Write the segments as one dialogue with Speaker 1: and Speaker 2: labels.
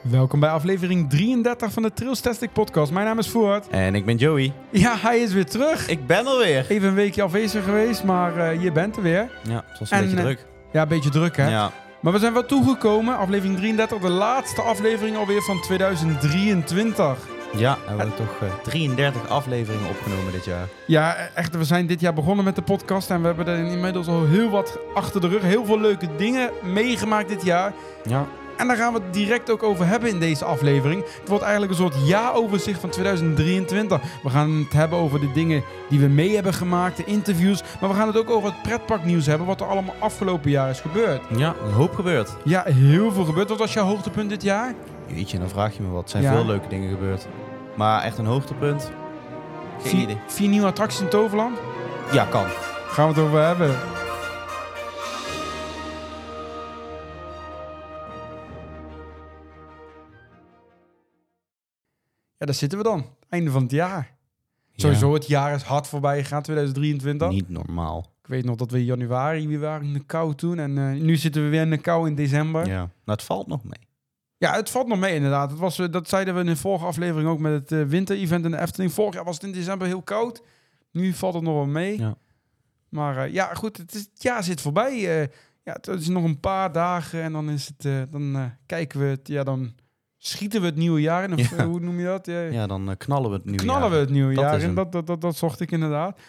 Speaker 1: Welkom bij aflevering 33 van de Trailstastic Podcast. Mijn naam is Voort.
Speaker 2: En ik ben Joey.
Speaker 1: Ja, hij is weer terug.
Speaker 2: Ik ben er weer.
Speaker 1: Even een weekje afwezig geweest, maar eh, je bent er weer.
Speaker 2: Ja, het was
Speaker 1: En,
Speaker 2: een beetje
Speaker 1: eh,
Speaker 2: druk.
Speaker 1: Ja, een beetje druk hè.
Speaker 2: Ja.
Speaker 1: Maar we zijn wel toegekomen. Aflevering 33, de laatste aflevering alweer van 2023.
Speaker 2: ja, we hebben toch eh, 33 afleveringen opgenomen dit jaar.
Speaker 1: Ja, echt, we zijn dit jaar begonnen met de podcast en we hebben er inmiddels al heel wat achter de rug. Heel veel leuke dingen meegemaakt dit jaar.
Speaker 2: Ja.
Speaker 1: En daar gaan we het direct ook over hebben in deze aflevering. Het wordt eigenlijk een soort jaaroverzicht van 2023. We gaan het hebben over de dingen die we mee hebben gemaakt, de interviews. Maar we gaan het ook over het pretparknieuws hebben, wat er allemaal afgelopen jaar is gebeurd.
Speaker 2: Ja, een hoop gebeurd.
Speaker 1: Ja, heel veel gebeurd. Wat was jouw hoogtepunt dit jaar?
Speaker 2: Jeetje, dan vraag je me wat. Er zijn
Speaker 1: Ja.
Speaker 2: veel leuke dingen gebeurd. Maar echt een hoogtepunt? Geen
Speaker 1: Vier-
Speaker 2: idee.
Speaker 1: Vier nieuwe attracties in Toverland?
Speaker 2: Ja, kan.
Speaker 1: Gaan we het over hebben. Ja, daar zitten we dan. Einde van het jaar. Sowieso, het jaar is hard voorbij gegaan, 2023.
Speaker 2: Niet normaal.
Speaker 1: Ik weet nog dat we in januari weer waren in de kou toen. En eh, nu zitten we weer in de kou in december. Ja,
Speaker 2: Ja. Nou, het valt nog mee.
Speaker 1: het valt nog mee inderdaad. Het was, eh, dat zeiden we in de vorige aflevering ook met het eh, winter-event in de Efteling. Vorig jaar was het in december heel koud. Nu valt het nog wel mee.
Speaker 2: Ja.
Speaker 1: Maar eh, ja, goed, het, is, het jaar zit voorbij. Eh, ja, het is nog een paar dagen en dan, is het, eh, dan eh, kijken we het. Ja, dan schieten we het nieuwe jaar in. Of
Speaker 2: Ja.
Speaker 1: eh, hoe noem je dat? Ja,
Speaker 2: Ja, dan eh, knallen we het nu.
Speaker 1: knallen we het nieuwe
Speaker 2: Dat
Speaker 1: jaar
Speaker 2: is
Speaker 1: in.
Speaker 2: hem.
Speaker 1: Dat, dat, dat, dat zocht ik inderdaad.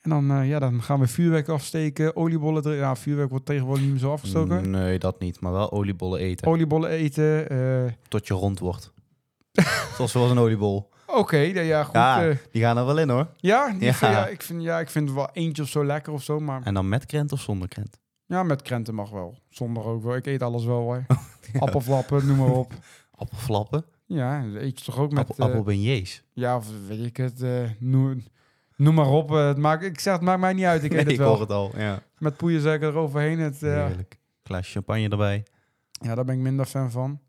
Speaker 1: En dan, eh, ja, dan gaan we vuurwerk afsteken, oliebollen drinken. Ja, vuurwerk wordt tegenwoordig niet meer zo afgestoken.
Speaker 2: Mm, Nee, dat niet. Maar wel oliebollen eten.
Speaker 1: Oliebollen eten. eh,
Speaker 2: Tot je rond wordt. Zoals wel eens een oliebol.
Speaker 1: Oké, ja, ja, goed. eh,
Speaker 2: ja,
Speaker 1: Ja,
Speaker 2: die gaan er wel in hoor.
Speaker 1: die
Speaker 2: Ja.
Speaker 1: Vind, ja, ik vind, ja, ik vind wel eentje of zo lekker of zo. Maar
Speaker 2: En dan met krent of zonder krent?
Speaker 1: ja, met krenten mag wel. Zonder ook wel. Ik eet alles wel hoor. Appelflappen, noem maar op.
Speaker 2: Appelflappen?
Speaker 1: Ja, dat eet je toch ook met...
Speaker 2: Appel,
Speaker 1: eh,
Speaker 2: appelbeignets?
Speaker 1: ja, of weet ik het. eh, noem, noem maar op. eh, het maakt, ik zeg, het maakt mij niet uit. Ik eet
Speaker 2: Nee,
Speaker 1: het wel.
Speaker 2: hoor het al. Ja.
Speaker 1: Met poeierzeker eroverheen. Het, eh,
Speaker 2: Heerlijk. Glaas champagne erbij.
Speaker 1: ja, daar ben ik minder fan van.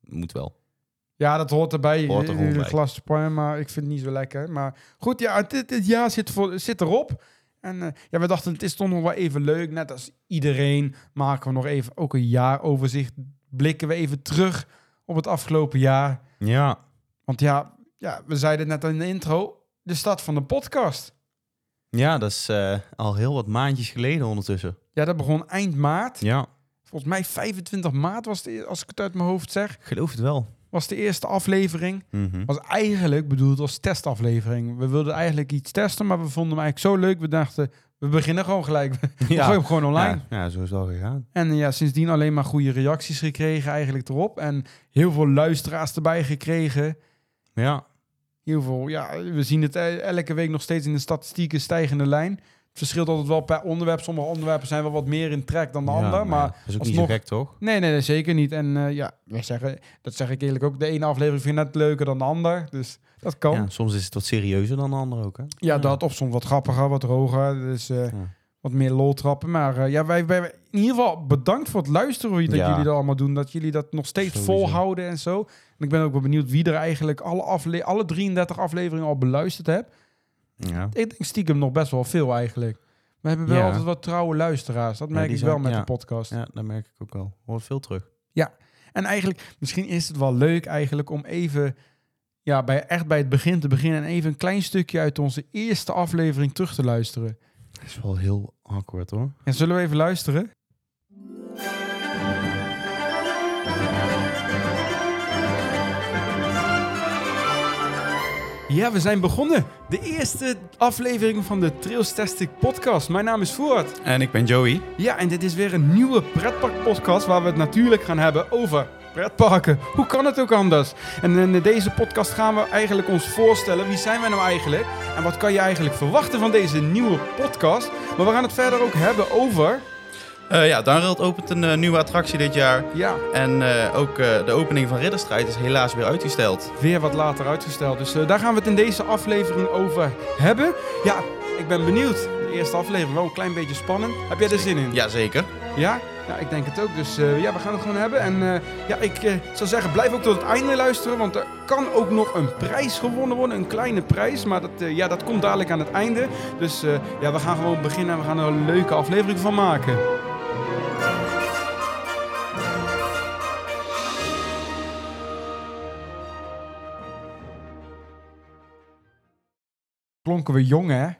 Speaker 2: Moet wel.
Speaker 1: Ja, dat hoort erbij.
Speaker 2: Hoort er
Speaker 1: Eh,
Speaker 2: gewoon
Speaker 1: een
Speaker 2: bij.
Speaker 1: glas champagne, maar ik vind het niet zo lekker. Maar goed, ja, het, het- het jaar zit, voor, zit erop. En eh, ja, we dachten, het is toch nog wel even leuk. Net als iedereen maken we nog even ook een jaaroverzicht. Blikken we even terug op het afgelopen jaar.
Speaker 2: Ja.
Speaker 1: Want ja, ja we zeiden het net in de intro, de start van de podcast.
Speaker 2: Ja, dat is eh, al heel wat maandjes geleden ondertussen.
Speaker 1: Ja, dat begon eind maart.
Speaker 2: Ja.
Speaker 1: Volgens mij 25 maart was de, e- als ik het uit mijn hoofd zeg,
Speaker 2: Geloof het wel.
Speaker 1: was de eerste aflevering.
Speaker 2: Mhm.
Speaker 1: was eigenlijk bedoeld als testaflevering. We wilden eigenlijk iets testen, maar we vonden hem eigenlijk zo leuk. We dachten, we beginnen gewoon gelijk. We gooien hem gewoon online.
Speaker 2: Ja, ja, zo is het al gegaan.
Speaker 1: En ja, sindsdien alleen maar goede reacties gekregen eigenlijk erop. En heel veel luisteraars erbij gekregen.
Speaker 2: Ja.
Speaker 1: Heel veel, ja, we zien het eh, elke week nog steeds in de statistieken stijgende lijn. Het verschilt altijd wel per onderwerp. Sommige onderwerpen zijn wel wat meer in trek dan de ander, maar...
Speaker 2: Dat is ook
Speaker 1: alsnog-
Speaker 2: niet zo gek, toch?
Speaker 1: Nee, nee, nee, zeker niet. En eh, ja, wij zeggen, dat zeg ik eerlijk ook. De ene aflevering vind ik net leuker dan de ander. Dus dat kan.
Speaker 2: Ja, soms is het wat serieuzer dan de ander ook, hè?
Speaker 1: Ja, dat. Of soms wat grappiger, wat droger. Dus eh,
Speaker 2: Hmm. Ja.
Speaker 1: wat meer loltrappen. Maar eh, ja, wij, wij, wij- in ieder geval bedankt voor het luisteren. Dat
Speaker 2: Ja.
Speaker 1: jullie dat allemaal doen. Dat jullie dat nog steeds
Speaker 2: Sowieso.
Speaker 1: volhouden en zo. En ik ben ook wel benieuwd wie er eigenlijk alle, afle alle 33 afleveringen al beluisterd hebt.
Speaker 2: Ja.
Speaker 1: Ik denk stiekem nog best wel veel eigenlijk. We hebben wel
Speaker 2: Ja.
Speaker 1: altijd wat trouwe luisteraars. Dat
Speaker 2: Ja,
Speaker 1: merk
Speaker 2: die
Speaker 1: ik
Speaker 2: zijn-
Speaker 1: wel met
Speaker 2: ja.
Speaker 1: de podcast.
Speaker 2: ja, dat merk ik ook wel. Hoor veel terug.
Speaker 1: En eigenlijk, misschien is het wel leuk eigenlijk om even... Ja, bij, echt bij het begin te beginnen. En even een klein stukje uit onze eerste aflevering terug te luisteren.
Speaker 2: Dat is wel heel awkward, hoor.
Speaker 1: Ja, zullen we even luisteren? Ja, we zijn begonnen. De eerste aflevering van de Trailstastic podcast. Mijn naam is Voort.
Speaker 2: En ik ben Joey.
Speaker 1: Ja, en dit is weer een nieuwe pretparkpodcast waar we het natuurlijk gaan hebben over pretparken. Hoe kan het ook anders? En in deze podcast gaan we eigenlijk ons voorstellen wie zijn wij nou eigenlijk en wat kan je eigenlijk verwachten van deze nieuwe podcast. Maar we gaan het verder ook hebben over
Speaker 2: Eh, ja, Dunrail opent een eh, nieuwe attractie dit jaar.
Speaker 1: ja,
Speaker 2: En eh, ook de opening van Ridderstrijd is helaas weer uitgesteld.
Speaker 1: weer wat later uitgesteld. Dus eh, daar gaan we het in deze aflevering over hebben. Ja, ik ben benieuwd. De eerste aflevering wel een klein beetje spannend. Heb jij er zin in?
Speaker 2: Jazeker.
Speaker 1: Ja?
Speaker 3: Ja, ik denk het ook. Dus eh, ja, we gaan het gewoon hebben. En eh, ja, ik eh, zou zeggen, blijf ook tot het einde luisteren. Want er kan ook nog een prijs gewonnen worden. Een kleine prijs. Maar dat, eh, ja, dat komt dadelijk aan het einde. Dus eh, ja, we gaan gewoon beginnen en we gaan er een leuke aflevering van maken.
Speaker 1: klonken we jong, hè?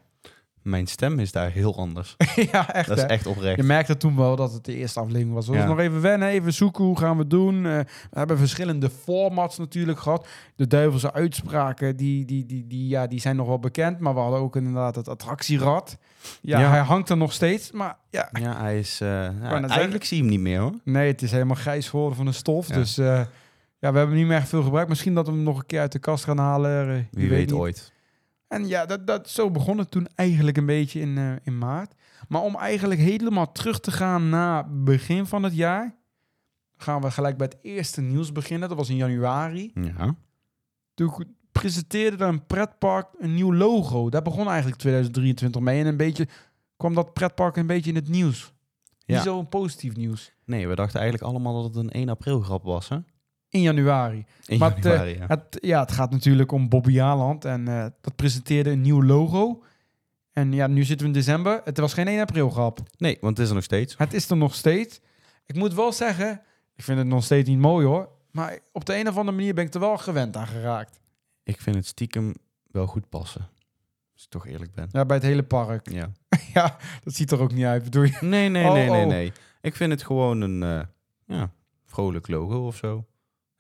Speaker 2: Mijn stem is daar heel anders.
Speaker 1: ja, echt,
Speaker 2: dat is
Speaker 1: hè?
Speaker 2: echt oprecht.
Speaker 1: Je merkte toen wel dat het de eerste aflevering was. We
Speaker 2: Ja.
Speaker 1: moeten nog even wennen, even zoeken, hoe gaan we het doen? Eh, we hebben verschillende formats natuurlijk gehad. De duivelse uitspraken, die, die, die, die, ja, die zijn nog wel bekend. Maar we hadden ook inderdaad het attractierad. Ja,
Speaker 2: Ja.
Speaker 1: hij hangt er nog steeds, maar ja...
Speaker 2: Ja, hij is... eh, ja,
Speaker 1: net
Speaker 2: eigenlijk
Speaker 1: zeggen.
Speaker 2: zie je hem niet meer hoor.
Speaker 1: Nee, het is helemaal grijs geworden van de stof.
Speaker 2: Ja.
Speaker 1: Dus eh, ja, we hebben hem niet meer echt veel gebruikt. Misschien dat we hem nog een keer uit de kast gaan halen. eh, je
Speaker 2: Wie weet,
Speaker 1: niet.
Speaker 2: ooit.
Speaker 1: En ja, dat, dat, zo begon het toen eigenlijk een beetje in, eh, in maart. Maar om eigenlijk helemaal terug te gaan naar begin van het jaar, gaan we gelijk bij het eerste nieuws beginnen. Dat was in januari.
Speaker 2: Ja.
Speaker 1: Toen presenteerde een pretpark een nieuw logo. Daar begon eigenlijk 2023 mee. En een beetje kwam dat pretpark een beetje in het nieuws.
Speaker 2: Ja.
Speaker 1: Niet zo'n positief nieuws.
Speaker 2: Nee, we dachten eigenlijk allemaal dat het een 1 april grap was, hè?
Speaker 1: In januari.
Speaker 2: In
Speaker 1: Maar, eh,
Speaker 2: januari, ja.
Speaker 1: Het, ja, het gaat natuurlijk om Bobby Aland. En eh, dat presenteerde een nieuw logo. En ja, nu zitten we in december. Het was geen 1 april grap.
Speaker 2: Nee, want het is er nog steeds.
Speaker 1: Het is er nog steeds. Ik moet wel zeggen, ik vind het nog steeds niet mooi hoor. Maar op de een of andere manier ben ik er wel gewend aan geraakt.
Speaker 2: Ik vind het stiekem wel goed passen. Als ik toch eerlijk ben.
Speaker 1: Ja, bij het hele park.
Speaker 2: Ja.
Speaker 1: Ja, dat ziet er ook niet uit. Bedoel je?
Speaker 2: Nee, nee,
Speaker 1: Oh,
Speaker 2: nee, nee,
Speaker 1: oh.
Speaker 2: nee. Ik vind het gewoon een eh, ja, vrolijk logo of zo.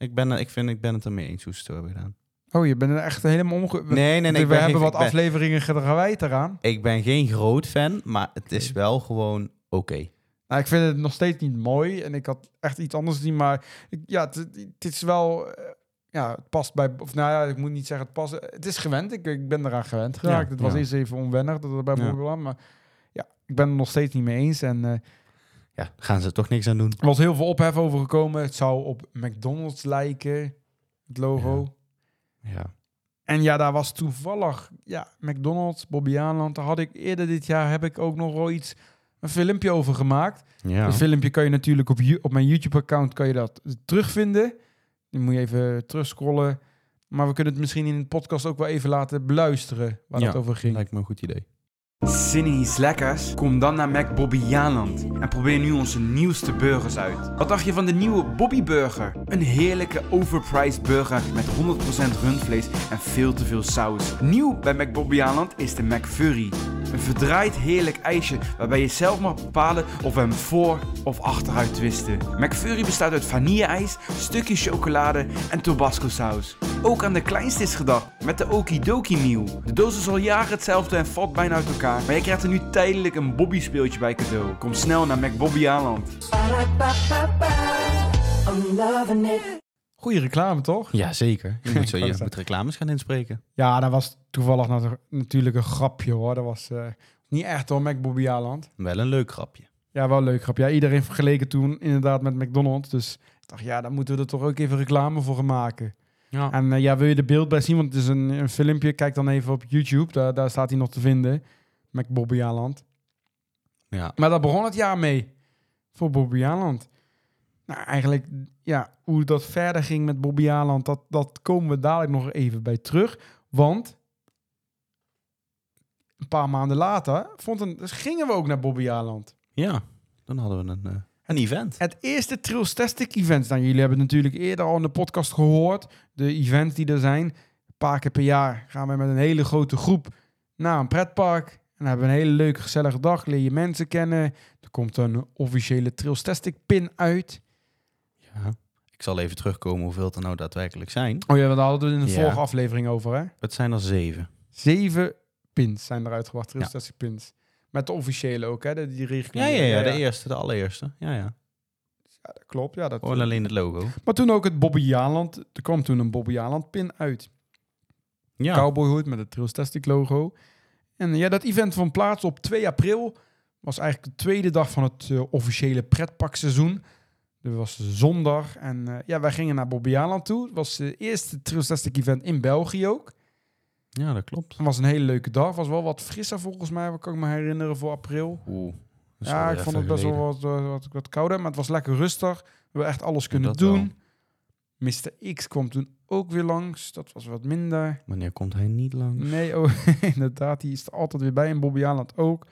Speaker 2: Ik ben, er- ik, vind, ik ben het ermee eens hoe ze het hebben gedaan.
Speaker 1: Oh, je bent er echt helemaal omge...
Speaker 2: Nee, nee, nee. ik
Speaker 1: we
Speaker 2: ben
Speaker 1: hebben
Speaker 2: geen-
Speaker 1: wat
Speaker 2: ik ben-
Speaker 1: afleveringen gewijd eraan.
Speaker 2: Ik ben geen groot fan, maar het is wel gewoon oké.
Speaker 1: Nou, ik vind het nog steeds niet mooi. En ik had echt iets anders zien. Maar ik- ja, het, het is wel... eh, Ja, het past bij... Of nou ja, ik moet niet zeggen het past. Het is gewend. Ik, ik ben eraan gewend geraakt.
Speaker 2: Ja,
Speaker 1: het was
Speaker 2: ja.
Speaker 1: eerst even onwennig dat het bij
Speaker 2: Ja.
Speaker 1: Bobby Aland, Maar ja, ik ben er nog steeds niet mee eens. En... eh,
Speaker 2: Ja, daar gaan ze toch niks aan doen.
Speaker 1: Er was heel veel ophef over gekomen. Het zou op McDonald's lijken, het logo.
Speaker 2: Ja.
Speaker 1: En ja, daar was toevallig, ja, McDonald's, Bobby Aanland. Daar had ik eerder dit jaar, heb ik ook nog wel iets, een filmpje over gemaakt.
Speaker 2: Ja.
Speaker 1: Dat filmpje kan je natuurlijk op, Ju- op mijn YouTube-account kan je dat terugvinden. Dan moet je even terugscrollen. Maar we kunnen het misschien in de podcast ook wel even laten beluisteren waar
Speaker 2: Ja.
Speaker 1: het over ging.
Speaker 2: Lijkt me een goed idee.
Speaker 3: Zin in iets lekkers? Kom dan naar Mac Bobby Jaanland en probeer nu onze nieuwste burgers uit. Wat dacht je van de nieuwe Bobby Burger? Een heerlijke overpriced burger met 100% rundvlees en veel te veel saus. Nieuw bij Mac Bobby Jaanland is de McFurry. Een verdraaid heerlijk ijsje waarbij je zelf mag bepalen of we hem voor of achteruit twisten. McFurry bestaat uit vanilleijs, stukjes chocolade en tabasco saus. Ook aan de kleinste is gedacht met de Okidoki Meal. De doos is al jaren hetzelfde en valt bijna uit elkaar. Maar je krijgt er nu tijdelijk een Bobby speeltje bij cadeau. Kom snel naar McBobby Aanland.
Speaker 4: Ba-da-ba-ba-ba. I'm loving it.
Speaker 1: Goeie reclame, toch?
Speaker 2: Ja, zeker. Je moet, zo, je
Speaker 1: Dankzij.
Speaker 2: moet reclames gaan inspreken.
Speaker 1: Ja, dat was toevallig nat- natuurlijk een grapje, hoor. Dat was eh, niet echt, hoor, Mac Bobby Aanland.
Speaker 2: Wel een leuk grapje.
Speaker 1: Ja, wel leuk grap. Ja, iedereen vergeleken toen inderdaad met McDonald's. Dus ik dacht, ja, daar moeten we er toch ook even reclame voor gaan maken.
Speaker 2: Ja.
Speaker 1: En eh, ja, wil je de beeld bij zien? Want het is een, een filmpje. Kijk dan even op YouTube. Daar, daar staat hij nog te vinden. Met Bobby Aland.
Speaker 2: Ja.
Speaker 1: Maar daar begon het jaar mee. Voor Bobby Aland. Nou, eigenlijk, ja, hoe dat verder ging met Bobby Aland, dat, dat komen we dadelijk nog even bij terug. Want een paar maanden later vond een, dus gingen we ook naar Bobby Aland.
Speaker 2: Ja. Dan hadden we een, eh, een event.
Speaker 1: Het eerste Trillstastic event. Nou, jullie hebben het natuurlijk eerder al in de podcast gehoord. De events die er zijn. Een paar keer per jaar gaan we met een hele grote groep naar een pretpark. En dan hebben we een hele leuke, gezellige dag. Leer je mensen kennen. Er komt een officiële Trillstastic pin uit.
Speaker 2: Ja. Ik zal even terugkomen hoeveel het er nou daadwerkelijk zijn.
Speaker 1: Oh ja, want daar hadden we het in de
Speaker 2: Ja.
Speaker 1: vorige aflevering over, hè?
Speaker 2: Het zijn er zeven.
Speaker 1: Zeven pins zijn er uitgebracht, Trillstastic pins. Met de officiële ook, hè? De- Die
Speaker 2: Ja,
Speaker 1: reguliere.
Speaker 2: ja, ja, de eerste, de allereerste. Ja, ja.
Speaker 1: Ja, dat klopt. Ja, dat...
Speaker 2: Gewoon alleen het logo.
Speaker 1: Maar toen ook het Bobby Jaanland. Er kwam toen een Bobby Jaanland pin uit.
Speaker 2: Ja.
Speaker 1: cowboyhoed met het Trillstastic logo. En ja, dat event vond plaats op 2 april. Was eigenlijk de tweede dag van het eh, officiële pretparkseizoen. Dat was zondag. En eh, ja, wij gingen naar Bobbejaanland toe. Het was het eerste Trillstastic event in België ook.
Speaker 2: ja, dat klopt.
Speaker 1: Het was een hele leuke dag. Was wel wat frisser volgens mij, kan ik me herinneren, voor april.
Speaker 2: Oeh. is
Speaker 1: ja,
Speaker 2: alweer
Speaker 1: ik vond
Speaker 2: even
Speaker 1: het best wel
Speaker 2: geleden.
Speaker 1: wat, eh, wat, wat kouder, maar het was lekker rustig. We hebben echt alles kunnen
Speaker 2: Dat wel.
Speaker 1: doen. Mr. X kwam toen ook weer langs. Dat was wat minder.
Speaker 2: Wanneer komt hij niet langs?
Speaker 1: Nee, oh, inderdaad, die is er altijd weer bij. En Bobby Aland ook.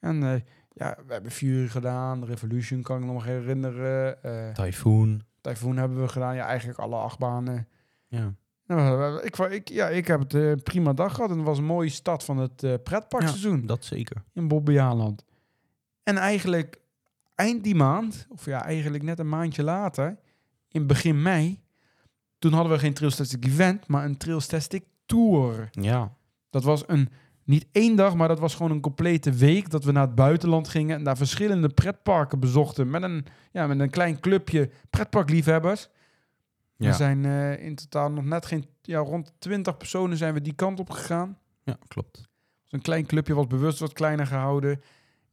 Speaker 1: En eh, ja, we hebben Fury gedaan. Revolution kan ik me nog herinneren. eh
Speaker 2: Typhoon.
Speaker 1: Typhoon hebben we gedaan. Ja, eigenlijk alle acht banen.
Speaker 2: Ja.
Speaker 1: Nou, eh, ik, wa- ik, ja, ik heb het eh, prima dag gehad. En het was een mooie stad van het eh, pretparkseizoen
Speaker 2: Dat zeker.
Speaker 1: in Bobbejaanland. En eigenlijk eind die maand, of ja, eigenlijk net een maandje later, in begin mei, toen hadden we geen Trailstastic Event, maar een Trailstastic Tour.
Speaker 2: Ja.
Speaker 1: Dat was een, niet één dag, maar dat was gewoon een complete week dat we naar het buitenland gingen en daar verschillende pretparken bezochten met een, ja, met een klein clubje pretparkliefhebbers.
Speaker 2: Ja.
Speaker 1: We zijn eh, in totaal nog net geen, ja, rond 20 personen zijn we die kant op gegaan.
Speaker 2: Ja, klopt.
Speaker 1: Dus een klein clubje was bewust wat kleiner gehouden.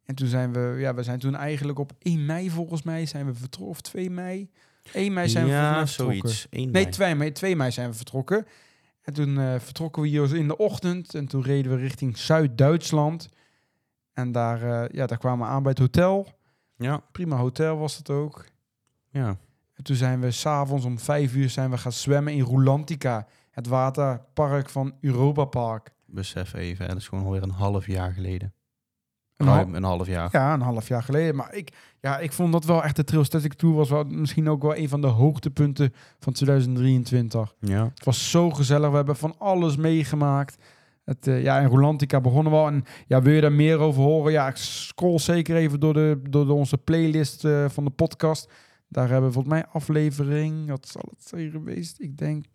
Speaker 1: En toen zijn we, ja, we zijn toen eigenlijk op 1 mei volgens mij zijn we vertrokken. Of 2 mei. 1 mei zijn we volgens
Speaker 2: ja,
Speaker 1: mij vertrokken.
Speaker 2: zoiets. Eén
Speaker 1: Nee,
Speaker 2: mei.
Speaker 1: 2 mei, 2 mei zijn we vertrokken. En toen eh, vertrokken we hier in de ochtend. En toen reden we richting Zuid-Duitsland. En daar, eh, ja, daar kwamen we aan bij het hotel.
Speaker 2: Ja.
Speaker 1: Prima hotel was het ook.
Speaker 2: Ja.
Speaker 1: En toen zijn we s'avonds om 5 uur zijn we gaan zwemmen in Rulantica. Het waterpark van Europa Park.
Speaker 2: Besef even, hè, dat is gewoon alweer een half jaar geleden.
Speaker 1: Een hal-
Speaker 2: Ruim een half jaar.
Speaker 1: Oh, Ja, een half jaar geleden. Maar ik, ja, ik vond dat wel echt de Trailstatic Tour was wel misschien ook wel een van de hoogtepunten van 2023.
Speaker 2: Ja.
Speaker 1: Het was zo gezellig. We hebben van alles meegemaakt. Het, eh, ja, in Rolantica begonnen we al. En ja, wil je daar meer over horen? Ja, scroll zeker even door, de, door de- onze playlist eh, van de podcast. Daar hebben we volgens mij aflevering... Wat zal het zijn geweest? Ik denk...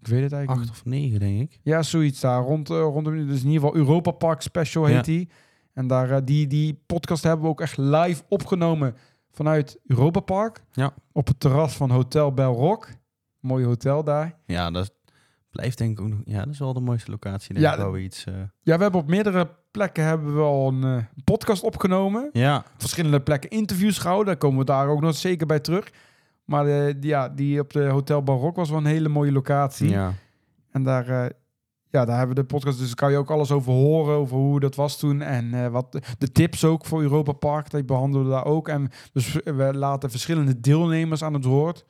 Speaker 1: Ik weet het eigenlijk niet.
Speaker 2: Acht of negen, denk ik.
Speaker 1: Ja, zoiets daar. Rond, eh, rondom, dus in ieder geval Europa Park Special heet
Speaker 2: Ja.
Speaker 1: die. En daar, eh, die, die podcast hebben we ook echt live opgenomen vanuit Europa Park.
Speaker 2: Ja.
Speaker 1: Op het terras van Hotel Belrock. Mooi hotel daar.
Speaker 2: Ja, dat blijft denk ik ook nog... Ja, dat is wel de mooiste locatie, denk
Speaker 1: Ja,
Speaker 2: ik,
Speaker 1: dat-
Speaker 2: waar we iets... eh,
Speaker 1: Ja, we hebben op meerdere plekken hebben we al een eh, podcast opgenomen.
Speaker 2: Ja.
Speaker 1: Verschillende plekken interviews gehouden. Daar komen we daar ook nog zeker bij terug. Maar eh, die, ja, die op de Hotel Barok was wel een hele mooie locatie.
Speaker 2: Ja.
Speaker 1: En daar, eh, ja, daar hebben we de podcast. Dus daar kan je ook alles over horen. Over hoe dat was toen. En eh, wat de- de tips ook voor Europa Park. Die behandelen we daar ook. En dus we laten verschillende deelnemers aan het woord.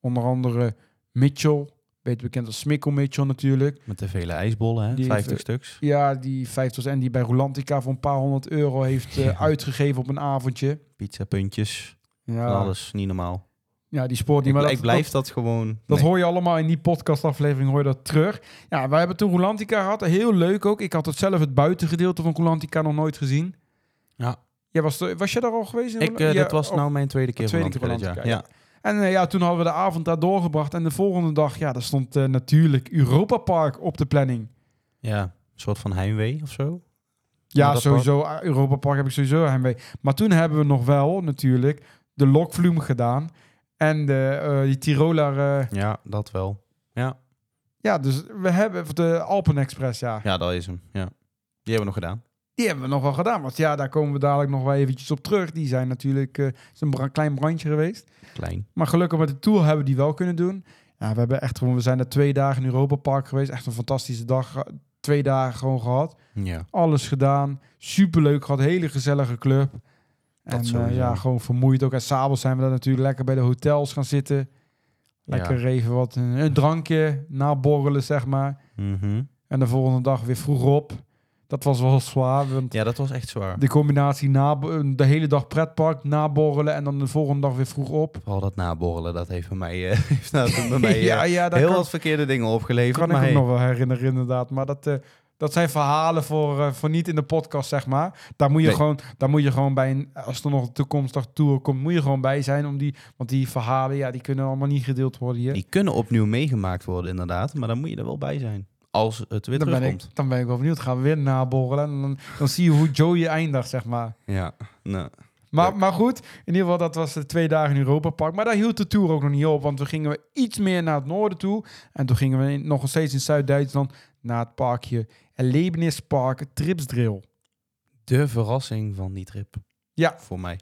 Speaker 1: Onder andere Mitchell. Beter bekend als Smikkel Mitchell natuurlijk.
Speaker 2: Met de vele ijsbollen, hè?
Speaker 1: Die
Speaker 2: 50
Speaker 1: heeft-
Speaker 2: stuks.
Speaker 1: Ja, die 50 en die bij Rolantica voor een paar honderd euro heeft eh,
Speaker 2: Ja.
Speaker 1: uitgegeven op een avondje.
Speaker 2: Pizza puntjes. van
Speaker 1: Ja,
Speaker 2: Alles, niet normaal.
Speaker 1: ja Ah. die spoort
Speaker 2: Ik,
Speaker 1: niet. Maar
Speaker 2: bl-
Speaker 1: dat-
Speaker 2: ik blijf dat gewoon...
Speaker 1: Dat
Speaker 2: nee.
Speaker 1: hoor je allemaal in die podcastaflevering, hoor je dat terug. Ja, wij hebben toen Rolantica gehad. Heel leuk ook. Ik had het zelf het buitengedeelte van Rolantica nog nooit gezien.
Speaker 2: Ja.
Speaker 1: Jij was, er- was je daar al geweest? in
Speaker 2: Ik,
Speaker 1: Rolantica?
Speaker 2: eh,
Speaker 1: Ja,
Speaker 2: dat was
Speaker 1: oh.
Speaker 2: nou mijn tweede keer
Speaker 1: tweede
Speaker 2: van
Speaker 1: keer
Speaker 2: Antarctica,
Speaker 1: van
Speaker 2: ja. Ja.
Speaker 1: En eh, ja, toen hadden we de avond daar doorgebracht. En de volgende dag, ja, daar stond eh, natuurlijk Europa Park op de planning.
Speaker 2: ja, een soort van heimwee of zo.
Speaker 1: Ja,
Speaker 2: Maar dat
Speaker 1: sowieso. eh, Europa Park heb ik sowieso heimwee. Maar toen hebben we nog wel natuurlijk de Lokvloem gedaan. En de, eh, die Tiroler... eh,
Speaker 2: Ja, dat wel.
Speaker 1: ja, dus we hebben... De Alpen Express, ja.
Speaker 2: Ja, dat is hem. Ja. Die hebben we nog gedaan.
Speaker 1: Die hebben we nog wel gedaan. Want ja, daar komen we dadelijk nog wel eventjes op terug. Die zijn natuurlijk eh is een bra- klein brandje geweest.
Speaker 2: Klein.
Speaker 1: Maar gelukkig met de tour hebben we die wel kunnen doen. Ja, we, hebben echt gewoon, we zijn er twee dagen in Europa Park geweest. Echt een fantastische dag. eh, Twee dagen gewoon gehad.
Speaker 2: Ja.
Speaker 1: Alles gedaan. Superleuk gehad. Hele gezellige club.
Speaker 2: Dat
Speaker 1: en eh,
Speaker 2: sowieso.
Speaker 1: ja, gewoon vermoeid ook. En s'avonds zijn we daar natuurlijk lekker bij de hotels gaan zitten. Lekker even wat een, een drankje naborrelen, zeg maar.
Speaker 2: Mhm.
Speaker 1: En de volgende dag weer vroeg op. Dat was wel zwaar. Want
Speaker 2: Ja, dat was echt zwaar.
Speaker 1: de combinatie na, de hele dag pretpark, naborrelen en dan de volgende dag weer vroeg op.
Speaker 2: Vooral dat naborrelen, dat heeft bij mij, eh, heeft nou toen bij mij eh,
Speaker 1: ja,
Speaker 2: heel
Speaker 1: kan,
Speaker 2: wat verkeerde dingen opgeleverd.
Speaker 1: kan ik
Speaker 2: maar
Speaker 1: me
Speaker 2: hey,
Speaker 1: nog wel herinneren inderdaad. Maar dat, eh, dat zijn verhalen voor, eh, voor niet in de podcast, zeg maar. Daar moet je,
Speaker 2: Nee.
Speaker 1: gewoon, daar moet je gewoon bij, een, als er nog een toekomstig tour komt, moet je gewoon bij zijn. Om die, want die verhalen, ja, die kunnen allemaal niet gedeeld worden hier.
Speaker 2: die kunnen opnieuw meegemaakt worden inderdaad, maar dan moet je er wel bij zijn. Als het weer
Speaker 1: dan, ben ik,
Speaker 2: terugkomt.
Speaker 1: dan ben ik wel benieuwd. Gaan we weer naborrelen en dan, dan zie je hoe Joey eindigt, zeg maar.
Speaker 2: Ja, nou,
Speaker 1: Maar, maar goed, in ieder geval, dat was de twee dagen in Europa Park. Maar daar hield de tour ook nog niet op, want toen gingen we iets meer naar het noorden toe. En toen gingen we in- nog steeds in Zuid-Duitsland naar het parkje Erlebnispark Tripsdrill.
Speaker 2: de verrassing van die trip.
Speaker 1: Ja.
Speaker 2: Voor mij.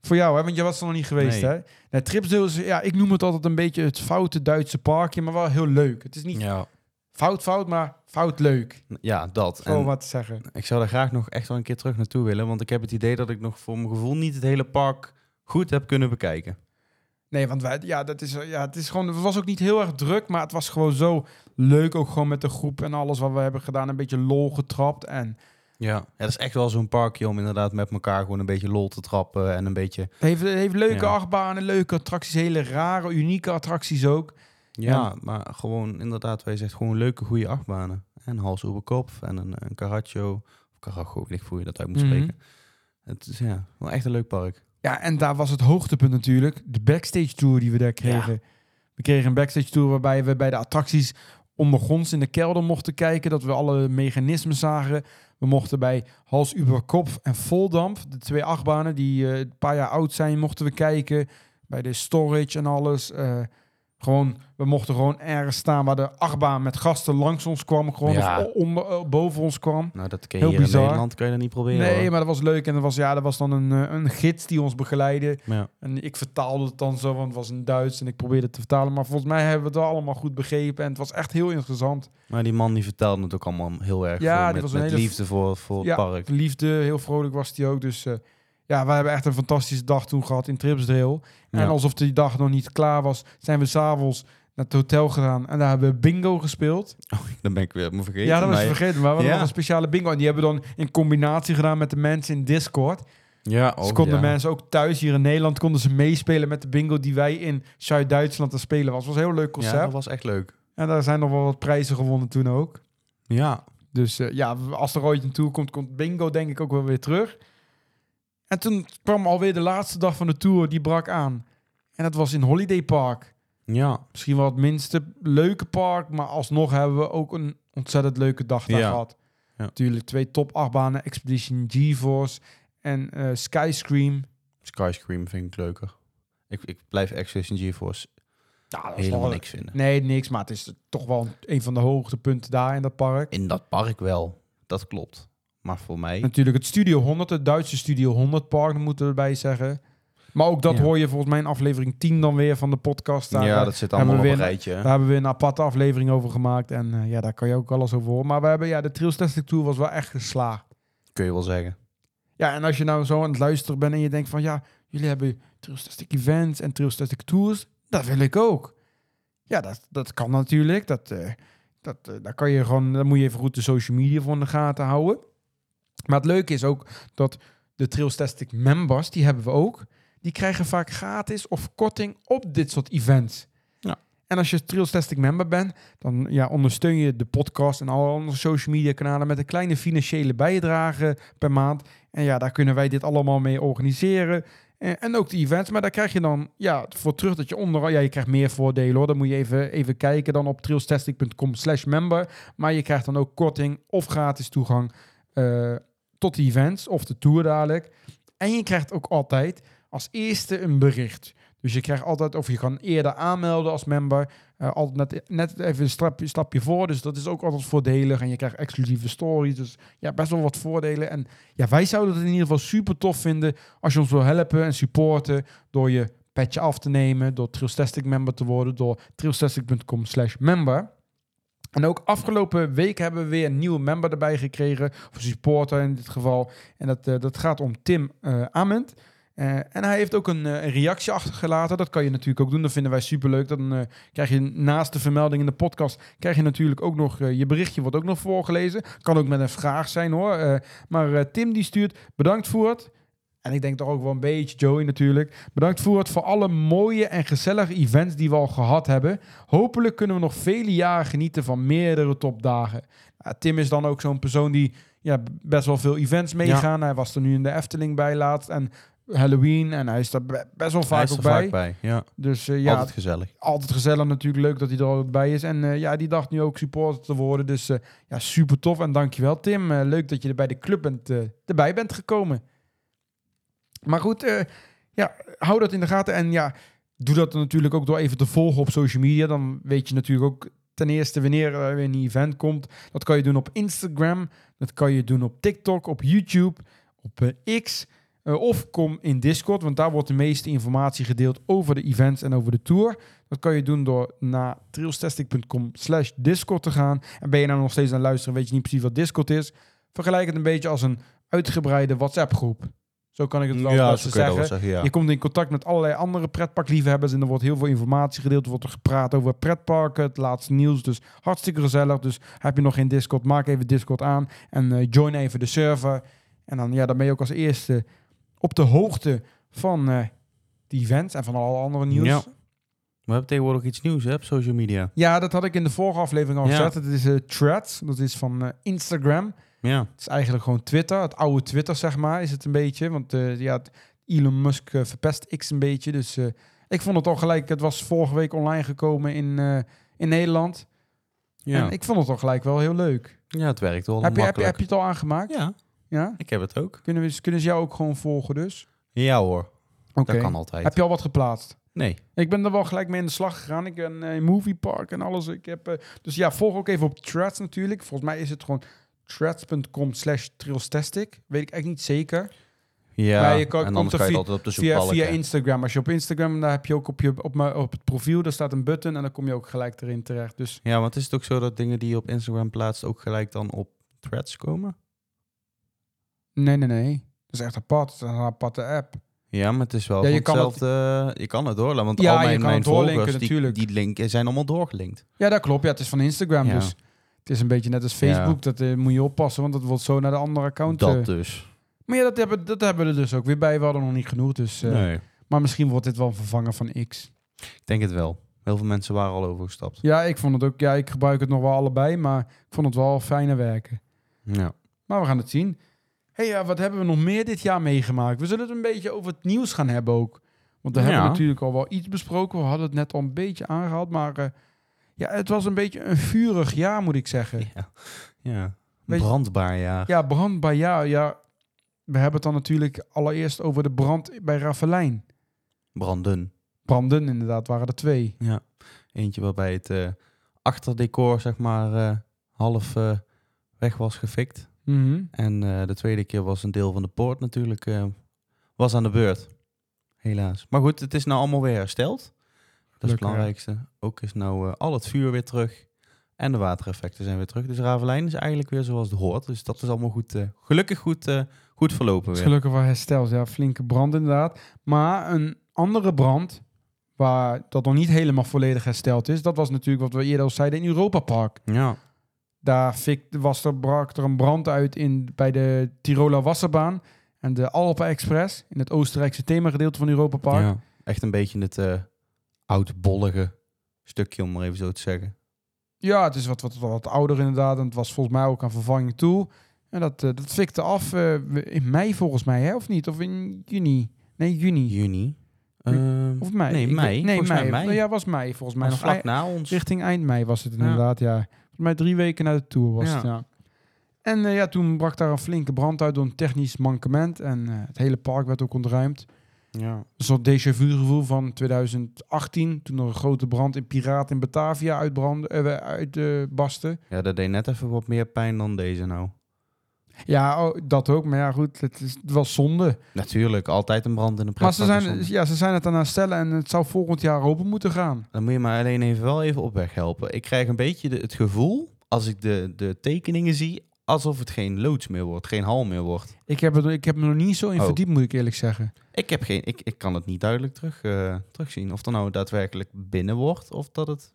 Speaker 1: Voor jou, hè? want je was er nog niet geweest,
Speaker 2: Nee.
Speaker 1: hè? Nou, Nee, Tripsdrill is, ja, ik noem het altijd een beetje het foute Duitse parkje, maar wel heel leuk. Het is niet
Speaker 2: Ja.
Speaker 1: Fout, fout, maar fout leuk.
Speaker 2: Ja, dat.
Speaker 1: Gewoon
Speaker 2: En
Speaker 1: wat te zeggen.
Speaker 2: ik zou daar graag nog echt wel een keer terug naartoe willen. Want ik heb het idee dat ik nog voor mijn gevoel niet het hele park goed heb kunnen bekijken.
Speaker 1: Nee, want wij, ja, dat is, ja, het is gewoon, het was ook niet heel erg druk, maar het was gewoon zo leuk. Ook gewoon met de groep en alles wat we hebben gedaan. Een beetje lol getrapt. En
Speaker 2: Ja. ja, dat is echt wel zo'n parkje om inderdaad met elkaar gewoon een beetje lol te trappen. En een beetje...
Speaker 1: het heeft, het heeft leuke
Speaker 2: Ja.
Speaker 1: achtbanen, leuke attracties, hele rare, unieke attracties ook.
Speaker 2: Ja, maar gewoon inderdaad, wij zegt gewoon leuke, goede achtbanen. En hals over kop en een, een caracho. Of caracho, weet ik hoe je dat uit moet
Speaker 1: Mhm.
Speaker 2: spreken. Het is ja, wel echt een leuk park.
Speaker 1: Ja, en daar was het hoogtepunt natuurlijk. De backstage tour die we daar kregen. We kregen een backstage tour waarbij we bij de attracties ondergronds in de kelder mochten kijken. Dat we alle mechanismen zagen. We mochten bij Hals über Kopf en Voldamp, de twee achtbanen die eh, een paar jaar oud zijn, mochten we kijken. Bij de storage en alles. Eh, gewoon, we mochten gewoon ergens staan waar de achtbaan met gasten langs ons kwam. Gewoon
Speaker 2: Ja.
Speaker 1: of onder, eh, boven ons kwam.
Speaker 2: Nou, dat ken je
Speaker 1: Heel
Speaker 2: hier
Speaker 1: bizar.
Speaker 2: in Nederland, kan je dat niet proberen.
Speaker 1: Nee,
Speaker 2: hoor.
Speaker 1: maar dat was leuk. En dat was, ja, dat was dan een, eh, een gids die ons begeleidde.
Speaker 2: Ja.
Speaker 1: En ik vertaalde het dan zo, want het was in Duits en ik probeerde het te vertalen. Maar volgens mij hebben we het wel allemaal goed begrepen. En het was echt heel interessant.
Speaker 2: Maar die man die vertelde het ook allemaal heel erg
Speaker 1: Ja,
Speaker 2: veel
Speaker 1: die
Speaker 2: met,
Speaker 1: was een
Speaker 2: met
Speaker 1: hele-
Speaker 2: liefde voor, voor
Speaker 1: Ja.
Speaker 2: het park.
Speaker 1: Liefde, heel vrolijk was die ook. Dus eh, ja, wij hebben echt een fantastische dag toen gehad in Tripsdrill.
Speaker 2: Ja.
Speaker 1: En alsof die dag nog niet klaar was, zijn we s'avonds naar het hotel gegaan. En daar hebben we bingo gespeeld.
Speaker 2: Dan ben ik weer me vergeten.
Speaker 1: ja, dat was
Speaker 2: maar-
Speaker 1: je vergeten. Maar we hadden
Speaker 2: Ja.
Speaker 1: nog een speciale bingo. En die hebben we dan in combinatie gedaan met de mensen in Discord.
Speaker 2: Ja, oh,
Speaker 1: dus konden
Speaker 2: ja.
Speaker 1: mensen ook thuis hier in Nederland konden ze meespelen met de bingo die wij in Zuid-Duitsland aan het spelen was. was een heel leuk concept.
Speaker 2: Ja, dat was echt leuk.
Speaker 1: En daar zijn nog wel wat prijzen gewonnen toen ook.
Speaker 2: Ja.
Speaker 1: Dus eh, ja, als er ooit een tour komt, komt bingo denk ik ook wel weer terug. En toen kwam alweer de laatste dag van de tour, die brak aan. En dat was in Holiday Park.
Speaker 2: Ja.
Speaker 1: Misschien wel het minste leuke park, maar alsnog hebben we ook een ontzettend leuke dag daar
Speaker 2: Ja.
Speaker 1: gehad.
Speaker 2: Ja.
Speaker 1: Natuurlijk twee top achtbanen, Expedition GeForce en eh Skyscream.
Speaker 2: Skyscream vind ik leuker. Ik, ik blijf Expedition GeForce
Speaker 1: Ja, dat is
Speaker 2: helemaal
Speaker 1: wel-
Speaker 2: niks vinden.
Speaker 1: Nee, niks, maar het is toch wel een- een van de hoogtepunten daar in dat park.
Speaker 2: In dat park wel. Dat klopt. Maar voor mij...
Speaker 1: Natuurlijk het Studio 100, het Duitse Studio 100 park, dat moeten we erbij zeggen. Maar ook dat
Speaker 2: Ja.
Speaker 1: hoor je volgens mij in aflevering 10 dan weer van de podcast. Daar,
Speaker 2: Ja,
Speaker 1: eh,
Speaker 2: dat zit
Speaker 1: hebben
Speaker 2: allemaal op
Speaker 1: we
Speaker 2: een
Speaker 1: weer-
Speaker 2: rijtje. hè?
Speaker 1: daar hebben we een aparte aflevering over gemaakt. En eh, ja, daar kan je ook alles over horen. Maar we hebben, ja, de Trails Testing Tour was wel echt geslaagd.
Speaker 2: Kun je wel zeggen.
Speaker 1: Ja, en als je nou zo aan het luisteren bent en je denkt van... Ja, jullie hebben Trails Testing Events en Trails Testing Tours. Dat wil ik ook. Ja, dat, dat kan natuurlijk. Dat, eh, dat, eh, daar, kan je gewoon, daar moet je even goed de social media voor in de gaten houden. Maar het leuke is ook dat de Trails Testing members, die hebben we ook... die krijgen vaak gratis of korting op dit soort events.
Speaker 2: Ja.
Speaker 1: En als je Trails Testing member bent, dan ja, ondersteun je de podcast en alle andere social media kanalen met een kleine financiële bijdrage per maand. En ja, daar kunnen wij dit allemaal mee organiseren. En, en ook de events, maar daar krijg je dan ja, voor terug dat je onder... Ja, je krijgt meer voordelen hoor, dan moet je even, even kijken dan op trailstesting.com slash member. Maar je krijgt dan ook korting of gratis toegang eh, tot de events of de tour dadelijk. En je krijgt ook altijd als eerste een bericht. Dus je krijgt altijd, of je kan eerder aanmelden als member. eh, altijd net, net even een stapje, stapje voor. Dus dat is ook altijd voordelig. En je krijgt exclusieve stories. Dus ja, best wel wat voordelen. En ja, wij zouden het in ieder geval super tof vinden als je ons wil helpen en supporten door je petje af te nemen, door Trillstastic member te worden, door trillstastic.com slash member. En ook afgelopen week hebben we weer een nieuwe member erbij gekregen, of supporter in dit geval. En dat, eh, dat gaat om Tim eh Ament. Eh, en hij heeft ook een, eh, een reactie achtergelaten. Dat kan je natuurlijk ook doen. Dat vinden wij superleuk. Dan eh, krijg je naast de vermelding in de podcast... krijg je natuurlijk ook nog... eh, je berichtje wordt ook nog voorgelezen. Kan ook met een vraag zijn hoor. Eh, maar eh, Tim die stuurt... Bedankt voor het... En ik denk toch ook wel een beetje Joey natuurlijk. Bedankt voor het voor alle mooie en gezellige events die we al gehad hebben. Hopelijk kunnen we nog vele jaren genieten van meerdere topdagen. Nou, Tim is dan ook zo'n persoon die ja, b- best wel veel events meegaan. Hij was er nu in de Efteling bij laatst en Halloween en hij is daar be- best wel
Speaker 2: Hij
Speaker 1: vaak
Speaker 2: is er
Speaker 1: ook bij.
Speaker 2: vaak bij. Ja,
Speaker 1: Dus eh, ja,
Speaker 2: altijd gezellig.
Speaker 1: altijd gezellig natuurlijk. Leuk dat hij er ook bij is. En eh, ja, die dacht nu ook supporter te worden. Dus eh, ja, super tof. En dankjewel Tim. Eh, leuk dat je er bij de club bent, eh, erbij bent gekomen. Maar goed, eh, ja, hou dat in de gaten. En ja, doe dat natuurlijk ook door even te volgen op social media. Dan weet je natuurlijk ook ten eerste wanneer er weer een event komt. Dat kan je doen op Instagram. Dat kan je doen op TikTok, op YouTube, op eh, X. Eh, of kom in Discord, want daar wordt de meeste informatie gedeeld over de events en over de tour. Dat kan je doen door naar trailstastic.com slash Discord te gaan. En ben je nou nog steeds aan het luisteren en weet je niet precies wat Discord is? Vergelijk het een beetje als een uitgebreide WhatsApp groep. Zo kan ik het wel het
Speaker 2: ja,
Speaker 1: beste
Speaker 2: zo kun je dat
Speaker 1: zeggen.
Speaker 2: wel zeggen, ja.
Speaker 1: Je komt in contact met allerlei andere pretparkliefhebbers en er wordt heel veel informatie gedeeld. Er wordt er gepraat over pretparken, het laatste nieuws. Dus hartstikke gezellig. Dus heb je nog geen Discord, maak even Discord aan en eh, join even de server. En dan, ja, dan ben je ook als eerste op de hoogte van eh die events en van alle andere nieuws.
Speaker 2: Ja.
Speaker 1: Ja.
Speaker 2: We hebben tegenwoordig iets nieuws, hè, op social media.
Speaker 1: dat had ik in de vorige aflevering al
Speaker 2: Ja.
Speaker 1: gezegd. Het is eh, Threads, dat is van eh, Instagram.
Speaker 2: Ja.
Speaker 1: Het is eigenlijk gewoon Twitter. Het oude Twitter, zeg maar, is het een beetje. Want eh, ja, het- Elon Musk eh, verpest X een beetje. Dus eh, ik vond het al gelijk. Het was vorige week online gekomen in, eh, in Nederland.
Speaker 2: Ja.
Speaker 1: En ik vond het al gelijk wel heel leuk.
Speaker 2: ja, het werkt wel
Speaker 1: Heb je, heb, je, heb
Speaker 2: makkelijk.
Speaker 1: je het al aangemaakt? Ja.
Speaker 2: Ja, ik heb het ook.
Speaker 1: Kunnen, we, kunnen ze jou ook gewoon volgen dus?
Speaker 2: Ja hoor,
Speaker 1: Oké.
Speaker 2: dat kan altijd.
Speaker 1: Heb je al wat geplaatst?
Speaker 2: Nee.
Speaker 1: Ik ben er wel gelijk mee in de slag gegaan. Ik ben eh, in Movie Park en alles. Ik heb, eh, dus ja, volg ook even op Threads natuurlijk. Volgens mij is het gewoon threads.com slash trailstastic. Weet ik eigenlijk niet zeker.
Speaker 2: Ja,
Speaker 1: Maar je kan-
Speaker 2: en
Speaker 1: komt
Speaker 2: anders
Speaker 1: er
Speaker 2: kan je
Speaker 1: via-
Speaker 2: het altijd op de
Speaker 1: via,
Speaker 2: zoekbalk.
Speaker 1: via
Speaker 2: hè.
Speaker 1: Instagram. Als je op Instagram, daar heb je ook op, je, op, mijn- op het profiel, daar staat een button en dan kom je ook gelijk erin terecht. Dus
Speaker 2: Ja, want is het ook zo dat dingen die je op Instagram plaatst ook gelijk dan op threads komen?
Speaker 1: nee, nee, nee. Dat is echt apart. Dat is een aparte app.
Speaker 2: Ja, maar het is wel
Speaker 1: Ja,
Speaker 2: van
Speaker 1: je kan het-
Speaker 2: hetzelfde... je kan het doorlaten, want
Speaker 1: Ja,
Speaker 2: al
Speaker 1: je
Speaker 2: mijn,
Speaker 1: kan
Speaker 2: mijn
Speaker 1: het doorlinken
Speaker 2: volgers, die,
Speaker 1: natuurlijk.
Speaker 2: die linken zijn allemaal doorgelinkt.
Speaker 1: Ja, dat klopt. Ja, het is van Instagram
Speaker 2: Ja.
Speaker 1: dus. Het is een beetje net als Facebook. Dat eh, moet je oppassen, want dat wordt zo naar de andere account. eh.
Speaker 2: Dat dus.
Speaker 1: Maar ja, dat hebben, dat hebben we er dus ook weer bij. We hadden nog niet genoeg. Dus, eh,
Speaker 2: Nee.
Speaker 1: Maar misschien wordt dit wel een vervanger van X.
Speaker 2: Ik denk het wel. Heel veel mensen waren al overgestapt.
Speaker 1: Ja, ik vond het ook. Ja, ik gebruik het nog wel allebei, maar ik vond het wel fijne werken.
Speaker 2: Ja.
Speaker 1: Maar we gaan het zien. hey, ja, wat hebben we nog meer dit jaar meegemaakt? We zullen het een beetje over het nieuws gaan hebben ook. Want daar
Speaker 2: Ja.
Speaker 1: hebben we natuurlijk al wel iets besproken. We hadden het net al een beetje aangehaald. Maar eh, ja, het was een beetje een vurig jaar, moet ik zeggen. Ja,
Speaker 2: Ja. ja.
Speaker 1: Weet je-
Speaker 2: Brandbaar, ja.
Speaker 1: brandbaar jaar. Ja, we hebben het dan natuurlijk allereerst over de brand bij Ravelijn.
Speaker 2: Branden.
Speaker 1: Branden, inderdaad, waren er twee.
Speaker 2: Eentje waarbij het eh, achterdecor, zeg maar, eh, half eh, weg was gefikt.
Speaker 1: Mhm.
Speaker 2: En eh, de tweede keer was een deel van de poort natuurlijk eh, was aan de beurt. Helaas. Maar goed, het is nou allemaal weer hersteld. Dat is
Speaker 1: Gelukkig,
Speaker 2: het
Speaker 1: ja.
Speaker 2: belangrijkste. Ook is nou eh, al het vuur weer terug. En de watereffecten zijn weer terug. Dus Ravelijn is eigenlijk weer zoals het hoort. Dus dat is allemaal goed, eh, gelukkig goed, eh, goed verlopen
Speaker 1: Het
Speaker 2: weer.
Speaker 1: is gelukkig wel hersteld. Ja, flinke brand inderdaad. Maar een andere brand, waar dat nog niet helemaal volledig hersteld is... dat was natuurlijk wat we eerder al zeiden in Europa Park.
Speaker 2: Ja,
Speaker 1: Daar fik- was er, brak er een brand uit in, bij de Tiroler Wasserbaan en de Alpen Express in het Oostenrijkse themagedeelte van Europa Park.
Speaker 2: ja. echt een beetje het eh oudbollige stukje, om maar even zo te zeggen.
Speaker 1: Ja, het is wat, wat, wat, wat ouder inderdaad en het was volgens mij ook aan vervanging toe. En dat, eh, dat fikte af eh, in mei volgens mij, hè? of niet? Of in juni? Nee, juni.
Speaker 2: Juni.
Speaker 1: Ju-
Speaker 2: Ehm,
Speaker 1: Of mei?
Speaker 2: Nee,
Speaker 1: Ik
Speaker 2: mei.
Speaker 1: weet- Nee,
Speaker 2: Volgens mij
Speaker 1: mei. Nou
Speaker 2: mei.
Speaker 1: Ja, was mei volgens mij.
Speaker 2: was
Speaker 1: Nog ei-
Speaker 2: vlak na ons.
Speaker 1: Richting eind mei was het
Speaker 2: Ja.
Speaker 1: inderdaad, ja. Volgens mij drie weken na de Tour was
Speaker 2: Ja.
Speaker 1: het, ja. En eh, ja, toen brak daar een flinke brand uit door een technisch mankement. En eh, het hele park werd ook ontruimd.
Speaker 2: Ja.
Speaker 1: Een soort déjà vu gevoel van 2018, toen er een grote brand in Piraat in Batavia uitbrandde, eh, uitbarstte.
Speaker 2: ja, dat deed net even wat meer pijn dan deze nou.
Speaker 1: ja, oh, dat ook. Maar ja, goed, het, is, het was zonde.
Speaker 2: Natuurlijk, altijd een brand in een
Speaker 1: Maar ze
Speaker 2: pretpark is
Speaker 1: zijn,
Speaker 2: zonde.
Speaker 1: ja, ze zijn het aan het herstellen en het zou volgend jaar open moeten gaan.
Speaker 2: Dan moet je mij alleen even wel even op weg helpen. Ik krijg een beetje de- het gevoel, als ik de, de tekeningen zie, alsof het geen loods meer wordt, geen hal meer wordt.
Speaker 1: Ik heb, het, ik heb me er niet zo in
Speaker 2: Oh.
Speaker 1: verdiept, moet ik eerlijk zeggen.
Speaker 2: Ik, heb geen, ik, ik kan het niet duidelijk terug, eh, terugzien. Of er nou daadwerkelijk binnen wordt, of dat, het,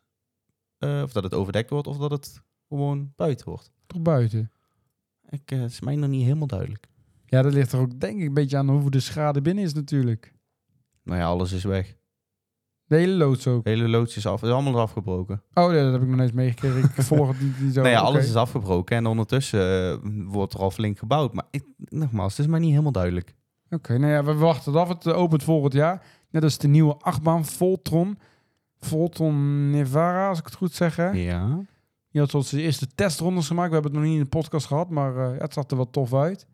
Speaker 2: eh, of dat het overdekt wordt, of dat het gewoon buiten wordt.
Speaker 1: Toch buiten.
Speaker 2: Ik, eh, het is mij nog niet helemaal duidelijk.
Speaker 1: Ja, dat ligt er ook denk ik een beetje aan hoe de schade binnen is natuurlijk.
Speaker 2: Nou ja, alles is weg.
Speaker 1: De hele loods ook.
Speaker 2: De hele loods is af, is allemaal afgebroken.
Speaker 1: Oh, nee, dat heb ik nog niet eens meegekregen. Ik volg het niet, niet zo.
Speaker 2: nou ja, alles
Speaker 1: Oké.
Speaker 2: is afgebroken en ondertussen eh, wordt er al flink gebouwd. Maar ik, nogmaals, het is mij niet helemaal duidelijk.
Speaker 1: Oké, nou ja, we wachten het af. Het eh, opent volgend jaar. Net als de nieuwe achtbaan Voltron. Voltron Nevada, als ik het goed zeg. Hè?
Speaker 2: Ja.
Speaker 1: Die had zoals de eerste testrondes gemaakt. We hebben het nog niet in de podcast gehad, maar eh, het zag er wel tof uit.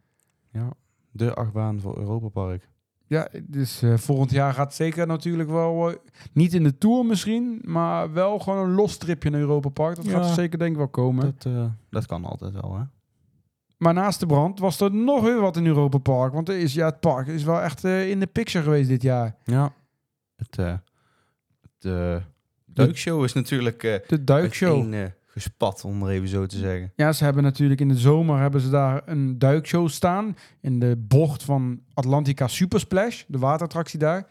Speaker 2: De achtbaan voor Europa Park.
Speaker 1: Ja, dus eh, volgend jaar gaat zeker natuurlijk wel... eh, niet in de Tour misschien, maar wel gewoon een los tripje naar Europa Park. Dat
Speaker 2: Ja.
Speaker 1: gaat er zeker denk ik wel komen.
Speaker 2: Dat, eh, dat kan altijd wel, hè?
Speaker 1: Maar naast de brand was er nog weer wat in Europa Park. Want er is, ja, het park is wel echt eh, in de picture geweest dit jaar.
Speaker 2: Ja. Het, eh, het eh, duikshow is natuurlijk eh
Speaker 1: De duikshow.
Speaker 2: uiteen, eh, gespat, om er even zo te zeggen.
Speaker 1: Ja, ze hebben natuurlijk in de zomer hebben ze daar een duikshow staan. In de bocht van Atlantica Supersplash, de waterattractie daar.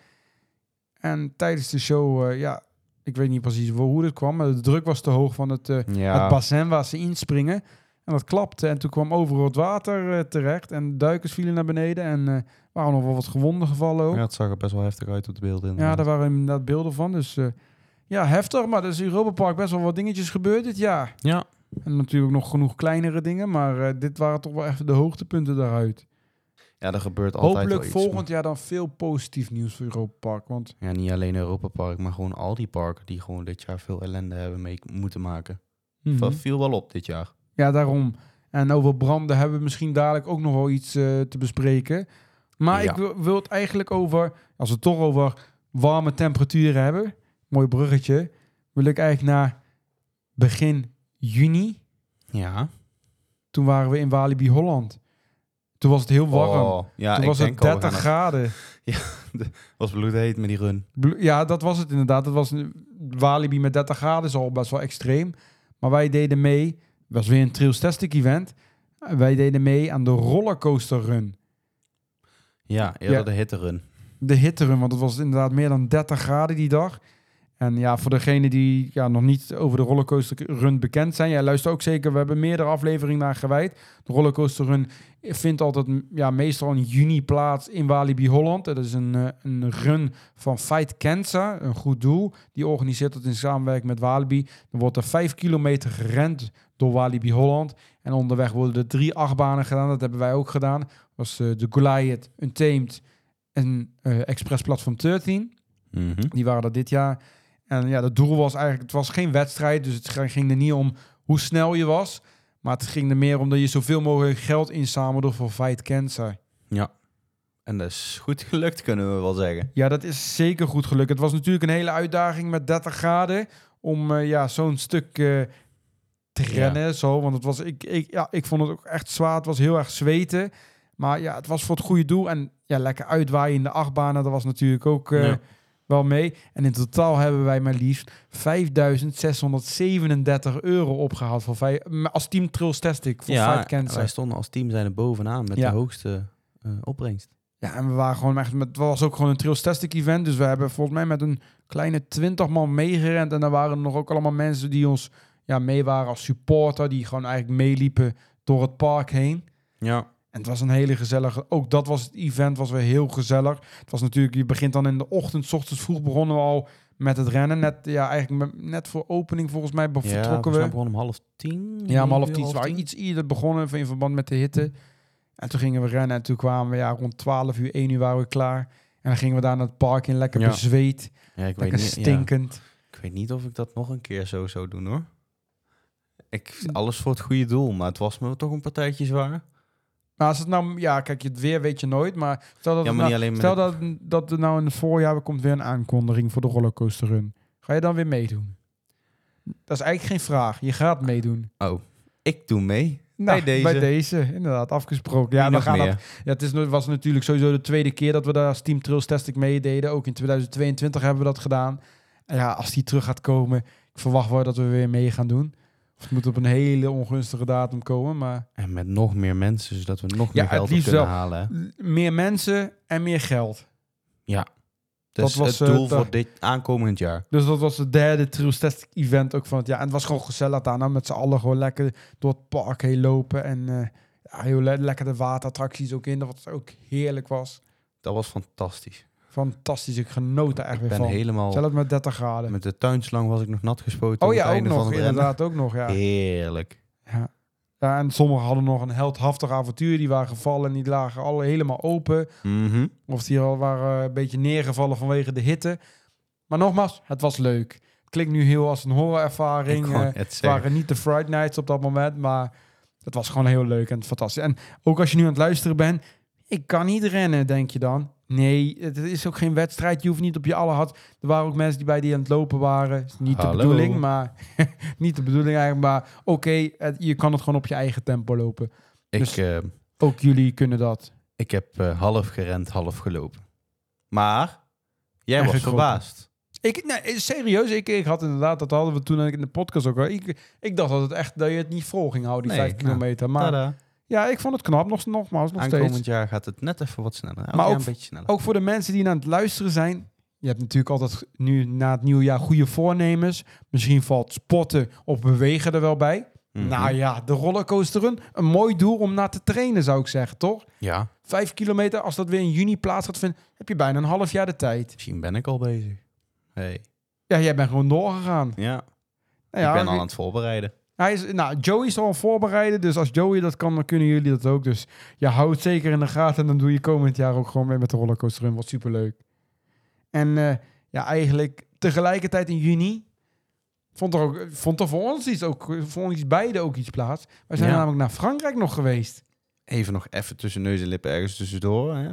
Speaker 1: En tijdens de show, eh, ja, ik weet niet precies voor hoe dit kwam, maar de druk was te hoog van het, eh, het
Speaker 2: Ja,
Speaker 1: bassin waar ze inspringen. En dat klapte. En toen kwam overal het water eh, terecht. En duikers vielen naar beneden. En eh waren nog wel wat gewonden gevallen ook.
Speaker 2: ja,
Speaker 1: Ja,
Speaker 2: het zag er best wel heftig uit op de beelden.
Speaker 1: daar waren inderdaad beelden van. Dus eh, ja, heftig. Maar er is in Europa Park best wel wat dingetjes gebeurd dit jaar.
Speaker 2: ja.
Speaker 1: En natuurlijk nog genoeg kleinere dingen, maar eh, dit waren toch wel echt de hoogtepunten daaruit.
Speaker 2: ja, er gebeurt altijd
Speaker 1: Hopelijk
Speaker 2: wel iets.
Speaker 1: volgend jaar dan veel positief nieuws voor Europa Park. Want
Speaker 2: Ja, niet alleen Europa Park, maar gewoon al die parken die gewoon dit jaar veel ellende hebben mee moeten maken. Dat viel wel op dit jaar.
Speaker 1: hm, ja, daarom. En over branden hebben we misschien dadelijk ook nog wel iets eh, te bespreken. Maar
Speaker 2: Ja.
Speaker 1: ik wil, wil het eigenlijk over, als we het toch over warme temperaturen hebben, mooi bruggetje, wil ik eigenlijk naar begin juni.
Speaker 2: Ja.
Speaker 1: Toen waren we in Walibi Holland. Toen was het heel warm.
Speaker 2: Oh, ja,
Speaker 1: Toen
Speaker 2: ik
Speaker 1: was het
Speaker 2: denk al, we
Speaker 1: 30
Speaker 2: gaan
Speaker 1: graden.
Speaker 2: het- was bloedheet met die run.
Speaker 1: Blo- Ja, dat was het inderdaad. Dat was een- Walibi met 30 graden is al best wel extreem. Maar wij deden mee. was weer een Trailstastic event. En Wij deden mee aan de rollercoaster run.
Speaker 2: Ja, eerder
Speaker 1: Ja.
Speaker 2: de hitte run.
Speaker 1: De hitte run, want het was inderdaad meer dan 30 graden die dag. En ja, voor degenen die ja, nog niet over de rollercoaster run bekend zijn. Ja, luister ook zeker. We hebben meerdere afleveringen naar gewijd. De rollercoaster run vindt altijd ja, meestal in juni plaats in Walibi Holland. Dat is een, eh, een run van Fight Cancer, een goed doel. Die organiseert dat in samenwerking met Walibi. Dan wordt er vijf kilometer gerend door Walibi Holland. En onderweg worden er drie achtbanen gedaan. Dat hebben wij ook gedaan. Dat was eh, de Goliath, Untamed en eh Express Platform 13.
Speaker 2: Mhm.
Speaker 1: Die waren dat dit jaar. En ja, het doel was eigenlijk, het was geen wedstrijd, dus het ging- ging er niet om hoe snel je was. Maar het ging er meer om dat je zoveel mogelijk geld inzamelde voor Fight Cancer.
Speaker 2: En dat is goed gelukt, kunnen we wel zeggen.
Speaker 1: Ja, dat is zeker goed gelukt. Het was natuurlijk een hele uitdaging met 30 graden om eh, ja, zo'n stuk eh, te
Speaker 2: Ja.
Speaker 1: rennen. Zo, want het was, ik, ik, ja, ik vond het ook echt zwaar. Het was heel erg zweten. Maar ja, het was voor het goede doel. En ja, lekker uitwaaien in de achtbanen, dat was natuurlijk ook eh,
Speaker 2: Ja.
Speaker 1: wel mee. En in totaal hebben wij maar liefst 5.637 euro opgehaald voor vij- als team Trillstastic voor ja,
Speaker 2: Ja,
Speaker 1: Fight Cancer.
Speaker 2: wij stonden als team zijn er bovenaan met
Speaker 1: Ja.
Speaker 2: de hoogste eh, opbrengst.
Speaker 1: Ja, en we waren gewoon echt met. Het was ook gewoon een Trailstastic event. Dus we hebben volgens mij met een kleine 20 man meegerend. En daar waren nog ook allemaal mensen die ons ja, mee waren als supporter. Die gewoon eigenlijk meeliepen door het park heen.
Speaker 2: Ja.
Speaker 1: En het was een hele gezellige. Ook dat was het event, was weer heel gezellig. Het was natuurlijk, je begint dan in de ochtend, 's ochtends vroeg begonnen we al met het rennen. Net, ja, eigenlijk met- net voor opening volgens mij be- vertrokken we.
Speaker 2: begonnen om half tien.
Speaker 1: Ja, om half tien. We waren iets eerder begonnen in verband met de hitte. En toen gingen we rennen en toen kwamen we ja, rond 12 uur, 1 uur waren we klaar. En dan gingen we daar naar het park in, lekker
Speaker 2: Ja.
Speaker 1: bezweet,
Speaker 2: Ja, ik, weet
Speaker 1: lekker
Speaker 2: niet, ja.
Speaker 1: stinkend.
Speaker 2: ik weet niet of ik dat nog een keer zo zou doen hoor. Ik, alles voor het goede doel, maar het was me toch een partijtje zwaar.
Speaker 1: Maar als het nou, ja, kijk, het weer weet je nooit, maar stel dat,
Speaker 2: Ja,
Speaker 1: het
Speaker 2: maar
Speaker 1: nou,
Speaker 2: niet alleen met
Speaker 1: stel dat, dat er nou in het voorjaar komt weer een aankondiging voor de rollercoaster run. Ga je dan weer meedoen? Dat is eigenlijk geen vraag. Je gaat meedoen.
Speaker 2: Ik doe mee.
Speaker 1: Nou,
Speaker 2: Bij deze.
Speaker 1: Bij deze, inderdaad, afgesproken. Ja,
Speaker 2: Wie
Speaker 1: we
Speaker 2: nog
Speaker 1: gaan dat
Speaker 2: meer?
Speaker 1: Ja, het is, nu- was natuurlijk sowieso de tweede keer dat we daar als Team Trails Tastic meededen. Ook in 2022 hebben we dat gedaan. En ja, als die terug gaat komen, ik verwacht wel dat we weer mee gaan doen. Of het moet op een hele ongunstige datum komen. Maar
Speaker 2: En met nog meer mensen, zodat we nog
Speaker 1: Ja,
Speaker 2: meer
Speaker 1: het
Speaker 2: geld op
Speaker 1: liefst
Speaker 2: kunnen
Speaker 1: wel.
Speaker 2: halen. hè.
Speaker 1: l- meer mensen en meer geld.
Speaker 2: Dat,
Speaker 1: Dat
Speaker 2: is
Speaker 1: was,
Speaker 2: Dus het
Speaker 1: eh,
Speaker 2: doel
Speaker 1: de-
Speaker 2: voor dit aankomend jaar.
Speaker 1: Dus dat was het derde Trails Tastic event ook van het jaar. En het was gewoon gezellig daarna met z'n allen gewoon lekker door het park heen lopen. En eh, ja, heel le- lekker de waterattracties ook in. Wat ook heerlijk was.
Speaker 2: Dat was fantastisch.
Speaker 1: Fantastisch, ik genoot daar echt
Speaker 2: Ik
Speaker 1: weer
Speaker 2: ben
Speaker 1: van.
Speaker 2: helemaal...
Speaker 1: Zelfs met 30 graden.
Speaker 2: Met de tuinslang was ik nog nat gespoten.
Speaker 1: Oh
Speaker 2: op het
Speaker 1: ja, ook
Speaker 2: einde van
Speaker 1: nog.
Speaker 2: het rennen.
Speaker 1: Inderdaad, ook nog. Ja.
Speaker 2: Heerlijk.
Speaker 1: Ja. ja, en sommigen hadden nog een heldhaftig avontuur. Die waren gevallen en die lagen alle helemaal open.
Speaker 2: Mhm.
Speaker 1: Of die al waren eh, een beetje neergevallen vanwege de hitte. Maar nogmaals, het was leuk. Het klinkt nu heel als een horrorervaring.
Speaker 2: Ik
Speaker 1: eh,
Speaker 2: wou
Speaker 1: Het
Speaker 2: net zeggen.
Speaker 1: waren niet de Fright Nights op dat moment, maar het was gewoon heel leuk en fantastisch. En ook als je nu aan het luisteren bent, ik kan niet rennen, denk je dan. Nee, het is ook geen wedstrijd. Je hoeft niet op je alle had. Er waren ook mensen die bij die aan het lopen waren. Is niet
Speaker 2: Hallo.
Speaker 1: de bedoeling, maar niet de bedoeling eigenlijk. Maar oké, het- je kan het gewoon op je eigen tempo lopen.
Speaker 2: Ik,
Speaker 1: Dus-
Speaker 2: eh,
Speaker 1: Ook jullie kunnen dat.
Speaker 2: ik heb eh, half gerend, half gelopen. Maar jij was
Speaker 1: Eigenlijk gewoon-
Speaker 2: verbaasd.
Speaker 1: Ik, nee, serieus, ik, ik had inderdaad, dat hadden we toen in de podcast ook al. Ik, ik dacht dat, het echt, dat je het niet vol ging houden, die
Speaker 2: Nee,
Speaker 1: 5
Speaker 2: nou,
Speaker 1: kilometer. Maar
Speaker 2: Tada.
Speaker 1: ja, ik vond het knap, nog, nogmaals, nog
Speaker 2: Aankomend
Speaker 1: steeds.
Speaker 2: jaar gaat het net even wat sneller. Elk
Speaker 1: Maar
Speaker 2: jaar
Speaker 1: ook-
Speaker 2: een beetje sneller.
Speaker 1: Ook voor de mensen die aan het luisteren zijn. Je hebt natuurlijk altijd nu na het nieuwe jaar goede voornemens. Misschien valt spotten of bewegen er wel bij.
Speaker 2: Mhm.
Speaker 1: Nou ja, de rollercoasteren. Een mooi doel om naar te trainen, zou ik zeggen, toch?
Speaker 2: ja,
Speaker 1: Vijf kilometer, als dat weer in juni plaats gaat vinden, heb je bijna een half jaar de tijd.
Speaker 2: misschien ben ik al bezig. Hey.
Speaker 1: Ja, jij bent gewoon doorgegaan.
Speaker 2: Ja,
Speaker 1: Nou ja,
Speaker 2: ik ben al aan het voorbereiden.
Speaker 1: hij is, nou, Joey is al aan het voorbereiden, dus als Joey dat kan, dan kunnen jullie dat ook. Dus ja, hou het zeker in de gaten en dan doe je komend jaar ook gewoon mee met de rollercoaster run. Wat superleuk. En eh, ja, eigenlijk tegelijkertijd in juni vond er, ook, vond er voor ons iets ook, voor ons beiden ook iets plaats. Wij zijn
Speaker 2: Ja.
Speaker 1: namelijk naar Frankrijk nog geweest.
Speaker 2: Even nog even tussen neus en lippen ergens tussendoor. Hè?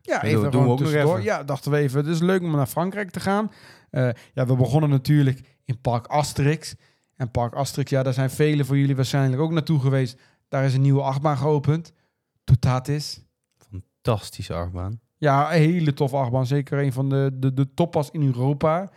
Speaker 1: Ja,
Speaker 2: doen-
Speaker 1: even
Speaker 2: doen we
Speaker 1: gewoon
Speaker 2: ook nog
Speaker 1: tussendoor.
Speaker 2: even.
Speaker 1: Ja, dachten we even. Het is leuk om naar Frankrijk te gaan. Eh, ja, we begonnen natuurlijk in Park Asterix. En Park Asterix, ja, daar zijn velen voor jullie waarschijnlijk ook naartoe geweest. Daar is een nieuwe achtbaan geopend. Totatis.
Speaker 2: Fantastische achtbaan.
Speaker 1: Ja, een hele toffe achtbaan. Zeker een van de, de, de toppas in Europa.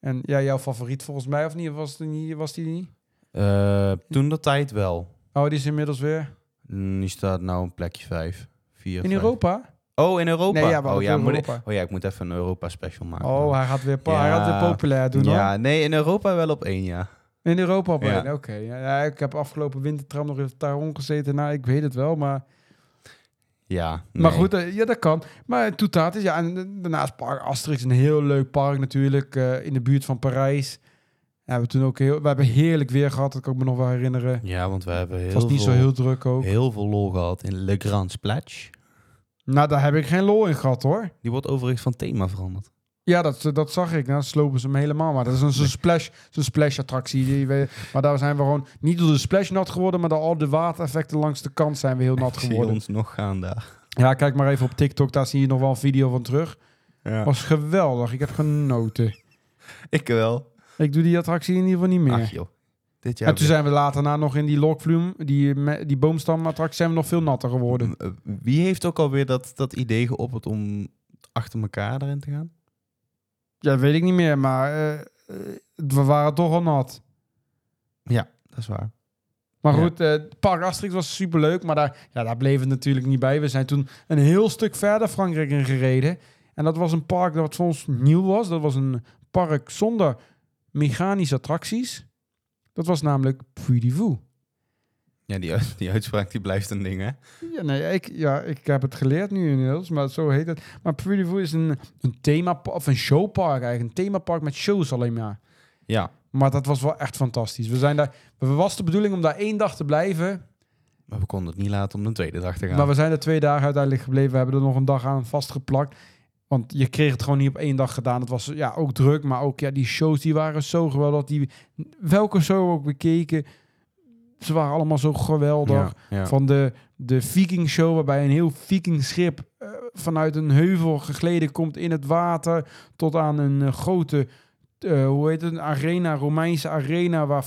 Speaker 1: En ja, jouw favoriet volgens mij, of niet? Was die, niet- was die niet?
Speaker 2: Eh, toen dat tijd wel.
Speaker 1: Oh, die is inmiddels weer.
Speaker 2: Mm, Die staat nou een plekje vijf. Vier,
Speaker 1: In
Speaker 2: vijf.
Speaker 1: Europa?
Speaker 2: Oh, in Europa?
Speaker 1: Nee, ja, we hadden
Speaker 2: oh, ja,
Speaker 1: het over
Speaker 2: moet ik,
Speaker 1: Europa.
Speaker 2: oh ja, ik moet even een Europa special maken.
Speaker 1: Oh, hij gaat weer, pa- hij gaat
Speaker 2: Ja.
Speaker 1: weer populair doen, hoor.
Speaker 2: ja, nee, in Europa wel op één, ja.
Speaker 1: In Europa op
Speaker 2: Ja.
Speaker 1: één, oké. Ja, ja, ik heb afgelopen wintertram nog in het Taron gezeten. Nou, ik weet het wel, maar...
Speaker 2: Ja,
Speaker 1: Maar
Speaker 2: nee.
Speaker 1: goed, eh, ja, dat kan. Maar Toetaat is, ja, en eh, daarnaast Park Asterix, een heel leuk park natuurlijk, eh, in de buurt van Parijs. Ja, we, hebben toen ook heel, we hebben heerlijk weer gehad, dat kan ik me nog wel herinneren.
Speaker 2: Ja, want we hebben heel,
Speaker 1: Het was niet
Speaker 2: veel,
Speaker 1: zo heel druk ook.
Speaker 2: heel veel lol gehad in Le Grand Splash.
Speaker 1: Nou, daar heb ik geen lol in gehad hoor.
Speaker 2: Die wordt overigens van thema veranderd.
Speaker 1: Ja, dat, eh, dat zag ik. Nou, slopen ze hem helemaal. Maar dat is een zo'n splash, zo'n splash attractie. Die we, maar daar zijn we gewoon niet door de splash nat geworden, maar door al de watereffecten langs de kant zijn we heel nat
Speaker 2: Ik zie
Speaker 1: geworden.
Speaker 2: ons nog gaan daar.
Speaker 1: Ja, kijk maar even op TikTok, daar zie je nog wel een video van terug.
Speaker 2: Ja.
Speaker 1: Was geweldig, ik heb genoten.
Speaker 2: Ik wel.
Speaker 1: Ik doe die attractie in ieder geval niet meer.
Speaker 2: Ach joh. Dit jaar
Speaker 1: en toen zijn we later na nog in die lokvloem, die, me- die boomstamattractie, zijn we nog veel natter geworden.
Speaker 2: Eh, Wie heeft ook alweer dat, dat idee geopperd om achter elkaar erin te gaan?
Speaker 1: Ja, dat weet ik niet meer, maar eh, eh, we waren toch al nat.
Speaker 2: Dat is waar.
Speaker 1: Maar
Speaker 2: Ja.
Speaker 1: goed, eh Park Asterix was superleuk, maar daar, ja, daar bleef het natuurlijk niet bij. We zijn toen een heel stuk verder Frankrijk in gereden. En dat was een park dat voor ons nieuw was. Dat was een park zonder mechanische attracties. Dat was namelijk Puy du Fou.
Speaker 2: Ja, die, uit- die uitspraak die blijft een ding, hè?
Speaker 1: Ja, nee, ik, ja, ik heb het geleerd nu inmiddels, maar zo heet het. Maar Pretty View is een, een thema of een showpark eigenlijk. Een themapark met shows alleen maar.
Speaker 2: Ja.
Speaker 1: Maar dat was wel echt fantastisch. We zijn daar, we was de bedoeling om daar één dag te blijven.
Speaker 2: Maar we konden het niet laten om een tweede dag te gaan.
Speaker 1: Maar we zijn er twee dagen uiteindelijk gebleven. We hebben er nog een dag aan vastgeplakt. Want je kreeg het gewoon niet op één dag gedaan. Het was ja, ook druk, maar ook ja, die shows die waren zo geweldig. Die, welke show we ook bekeken, ze waren allemaal zo geweldig.
Speaker 2: Ja, ja.
Speaker 1: Van de, de Viking Show, waarbij een heel Viking schip eh, vanuit een heuvel gegleden komt in het water. Tot aan een eh, grote, eh, hoe heet het, een arena, Romeinse arena, waar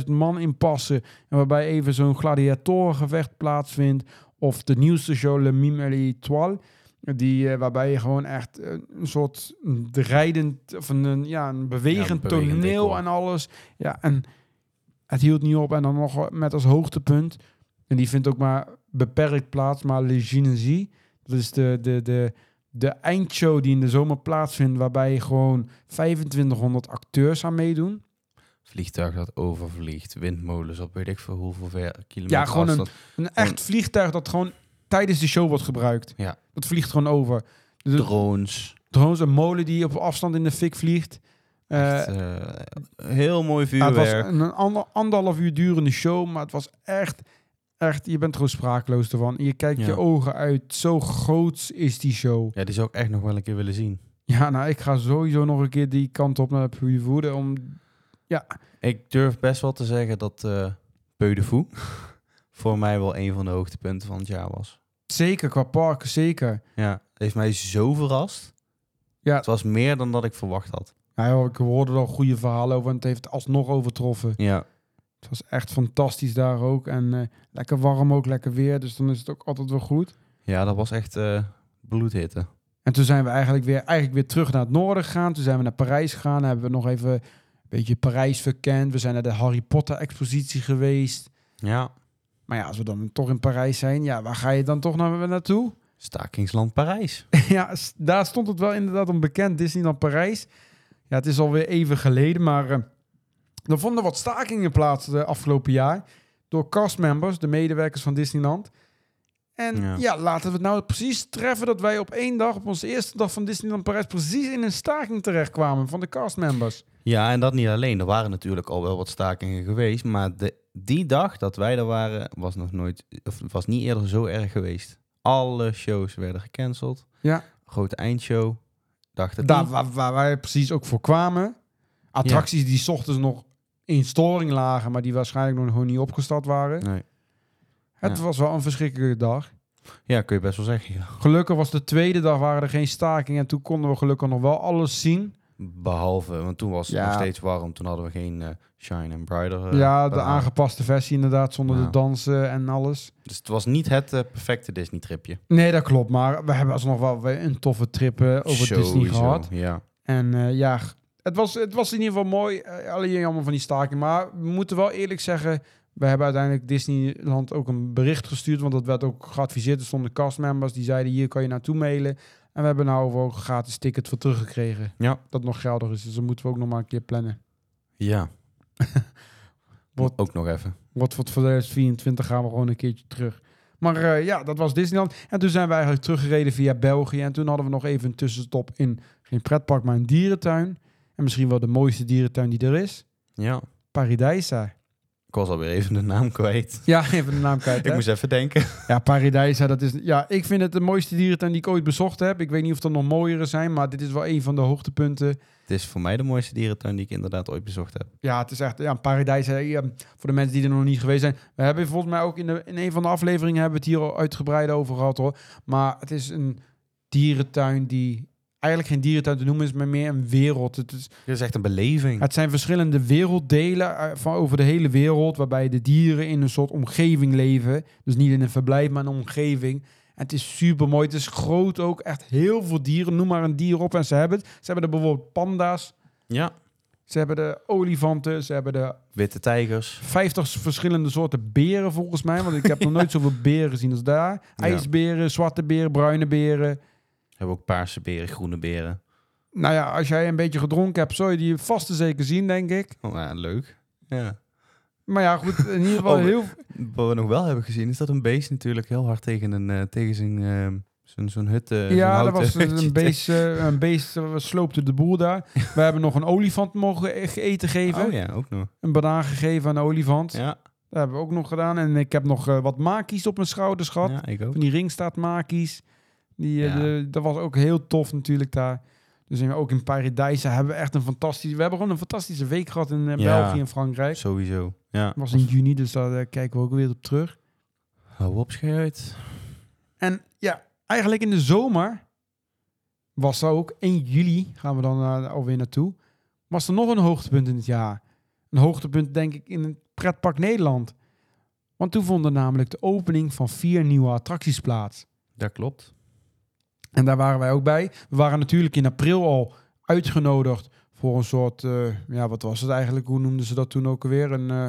Speaker 1: 15.000 man in passen. En waarbij even zo'n gladiatorengevecht plaatsvindt. Of de nieuwste show, Le Mime et l'Étoile. Die, eh, waarbij je gewoon echt eh, een soort rijdend, of een, een- ja, een bewegend,
Speaker 2: Ja, een bewegend
Speaker 1: toneel
Speaker 2: decor.
Speaker 1: en alles. Ja, en het hield niet op. En dan nog met als hoogtepunt, en die vindt ook maar beperkt plaats, maar Le Gynésie. Dat is de, de, de, de eindshow die in de zomer plaatsvindt, waarbij gewoon 2500 acteurs aan meedoen.
Speaker 2: Vliegtuig dat overvliegt, windmolens op weet ik veel hoeveel ver, kilometer
Speaker 1: Ja, gewoon een-
Speaker 2: afstand.
Speaker 1: Een echt vliegtuig dat gewoon tijdens de show wordt gebruikt.
Speaker 2: Ja.
Speaker 1: Dat vliegt gewoon over. Dus De,
Speaker 2: drones.
Speaker 1: trouwens, een molen die op afstand in de fik vliegt. Eh,
Speaker 2: Echt, eh, heel mooi
Speaker 1: ja, het was
Speaker 2: vuurwerk.
Speaker 1: een ander, anderhalf uur durende show, maar het was echt, echt, je bent gewoon sprakeloos ervan. Je kijkt
Speaker 2: Ja.
Speaker 1: je ogen uit. Zo groot is die show.
Speaker 2: Ja, die zou ik echt nog wel een keer willen zien.
Speaker 1: Ja, nou, ik ga sowieso nog een keer die kant op naar Puy Voerde om...
Speaker 2: Ik durf best wel te zeggen dat eh Peu de Fou voor mij wel een van de hoogtepunten van het jaar was.
Speaker 1: Zeker, qua park, zeker.
Speaker 2: Ja, het heeft mij zo verrast.
Speaker 1: Ja.
Speaker 2: Het was meer dan dat ik verwacht had.
Speaker 1: Nou, ja, ik hoorde al goede verhalen over en het heeft het alsnog overtroffen.
Speaker 2: Ja.
Speaker 1: Het was echt fantastisch daar ook. En eh, lekker warm ook, lekker weer. Dus dan is het ook altijd wel goed.
Speaker 2: Ja, dat was echt eh, bloedhitte.
Speaker 1: En toen zijn we eigenlijk weer, eigenlijk weer terug naar het noorden gegaan. Toen zijn we naar Parijs gegaan. Hebben we nog even een beetje Parijs verkend. We zijn naar de Harry Potter expositie geweest.
Speaker 2: Ja.
Speaker 1: Maar ja, als we dan toch in Parijs zijn, ja, waar ga je dan toch naar, naartoe?
Speaker 2: Stakingsland Parijs.
Speaker 1: ja, s- daar stond het wel inderdaad onbekend. Disneyland Parijs. Ja, het is alweer even geleden, maar eh, er vonden wat stakingen plaats de afgelopen jaar. Door castmembers, de medewerkers van Disneyland. En ja.
Speaker 2: Ja.
Speaker 1: laten we het nou precies treffen dat wij op één dag, op onze eerste dag van Disneyland Parijs, precies in een staking terechtkwamen van de castmembers.
Speaker 2: Ja, en dat niet alleen. Er waren natuurlijk al wel wat stakingen geweest. Maar de, die dag dat wij er waren, was nog nooit, of was niet eerder zo erg geweest. Alle shows werden gecanceld.
Speaker 1: Ja.
Speaker 2: Grote eindshow. Dag erna.
Speaker 1: Daar waar, waar wij precies ook voor kwamen. Attracties die 's ochtends nog in storing lagen, maar die waarschijnlijk nog gewoon niet opgestart waren.
Speaker 2: Nee.
Speaker 1: Het
Speaker 2: Ja.
Speaker 1: was wel een verschrikkelijke dag.
Speaker 2: Ja, kun je best wel zeggen. ja.
Speaker 1: Gelukkig was de tweede dag waren er geen stakingen en toen konden we gelukkig nog wel alles zien.
Speaker 2: Behalve, want toen was het
Speaker 1: Ja.
Speaker 2: nog steeds warm. Toen hadden we geen eh, Shine and Brighter. eh,
Speaker 1: ja, de
Speaker 2: daarna.
Speaker 1: aangepaste versie inderdaad, zonder
Speaker 2: Ja.
Speaker 1: de dansen en alles.
Speaker 2: Dus het was niet het eh, perfecte Disney-tripje.
Speaker 1: Nee, dat klopt, maar we hebben alsnog wel weer een toffe trip eh, over Disney
Speaker 2: Sowieso,
Speaker 1: gehad.
Speaker 2: Ja.
Speaker 1: En eh, ja, het was, het was in ieder geval mooi, eh, alleen allemaal van die stakingen. Maar we moeten wel eerlijk zeggen, we hebben uiteindelijk Disneyland ook een bericht gestuurd, want dat werd ook geadviseerd. Er stonden castmembers die zeiden, hier kan je naartoe mailen. En we hebben nou ook een gratis ticket voor teruggekregen.
Speaker 2: Ja.
Speaker 1: Dat nog geldig is, dus dat moeten we ook nog maar een keer plannen.
Speaker 2: Ja.
Speaker 1: Wordt-
Speaker 2: Ook nog even.
Speaker 1: Wat voor 2024 gaan we gewoon een keertje terug. Maar eh, ja, dat was Disneyland. En toen zijn we eigenlijk teruggereden via België. En toen hadden we nog even een tussenstop in geen pretpark, maar een dierentuin. En misschien wel de mooiste dierentuin die er is.
Speaker 2: Ja.
Speaker 1: Paradijsa.
Speaker 2: Ik was alweer even de naam kwijt.
Speaker 1: Ja, even de naam kwijt.
Speaker 2: Ik
Speaker 1: hè?
Speaker 2: moest even denken.
Speaker 1: Ja, Paradijsa, dat is... Ja, ik vind het de mooiste dierentuin die ik ooit bezocht heb. Ik weet niet of er nog mooiere zijn, maar dit is wel een van de hoogtepunten.
Speaker 2: Het is voor mij de mooiste dierentuin die ik inderdaad ooit bezocht heb.
Speaker 1: Ja, het is echt ja, een paradijs. hè. Ja, voor de mensen die er nog niet geweest zijn. We hebben volgens mij ook in, de, in een van de afleveringen hebben we het hier al uitgebreid over gehad hoor. Maar het is een dierentuin die eigenlijk geen dierentuin te noemen is, maar meer een wereld. Het, is,
Speaker 2: Dit is echt een beleving.
Speaker 1: het zijn verschillende werelddelen eh, van over de hele wereld, waarbij de dieren in een soort omgeving leven. Dus niet in een verblijf, maar een omgeving. En het is super mooi. Het is groot ook. Echt heel veel dieren. Noem maar een dier op en ze hebben het. Ze hebben er bijvoorbeeld panda's.
Speaker 2: Ja.
Speaker 1: Ze hebben de olifanten, ze hebben de
Speaker 2: Witte tijgers.
Speaker 1: 50 verschillende soorten beren volgens mij. Want ik heb nog nooit zoveel beren gezien als daar. IJsberen, zwarte beren, bruine beren.
Speaker 2: Hebben ook paarse beren, groene beren.
Speaker 1: Nou ja, als jij een beetje gedronken hebt, zou je die vast en zeker zien, denk ik.
Speaker 2: Oh, ja, leuk. Ja.
Speaker 1: Maar ja, goed, in ieder geval
Speaker 2: Oh,
Speaker 1: heel...
Speaker 2: Wat we nog wel hebben gezien is dat een beest natuurlijk heel hard tegen, een, eh, tegen zijn, ehm, zijn, zo'n hut... eh, zo'n
Speaker 1: ja,
Speaker 2: houten
Speaker 1: dat was
Speaker 2: hutje
Speaker 1: een
Speaker 2: tegen-
Speaker 1: beest, eh, een beest eh, sloopte de boel daar. We hebben nog een olifant mogen e- eten geven.
Speaker 2: Oh ja, ook nog.
Speaker 1: Een banaan gegeven aan de olifant.
Speaker 2: Ja,
Speaker 1: Dat hebben we ook nog gedaan. En ik heb nog eh, wat makies op mijn schouders gehad.
Speaker 2: ja ik ook.
Speaker 1: Van die ringstaatmakies. Die, eh,
Speaker 2: Ja.
Speaker 1: de- dat was ook heel tof natuurlijk daar. Dus in- ook in Paradijsa hebben we echt een fantastische... We hebben gewoon een fantastische week gehad in eh,
Speaker 2: Ja.
Speaker 1: België en Frankrijk.
Speaker 2: Sowieso. Ja.
Speaker 1: Het was in juni, dus daar eh, kijken we ook weer op terug.
Speaker 2: Hou op, schuit.
Speaker 1: En ja, eigenlijk in de zomer was er ook... 1 juli gaan we dan eh, alweer naartoe. Was er nog een hoogtepunt in het jaar. Een hoogtepunt denk ik in het pretpark Nederland. Want toen vond er namelijk de opening van vier nieuwe attracties plaats.
Speaker 2: Dat klopt.
Speaker 1: En daar waren wij ook bij. We waren natuurlijk in april al uitgenodigd voor een soort, eh, ja, wat was het eigenlijk? Hoe noemden ze dat toen ook alweer? Een eh,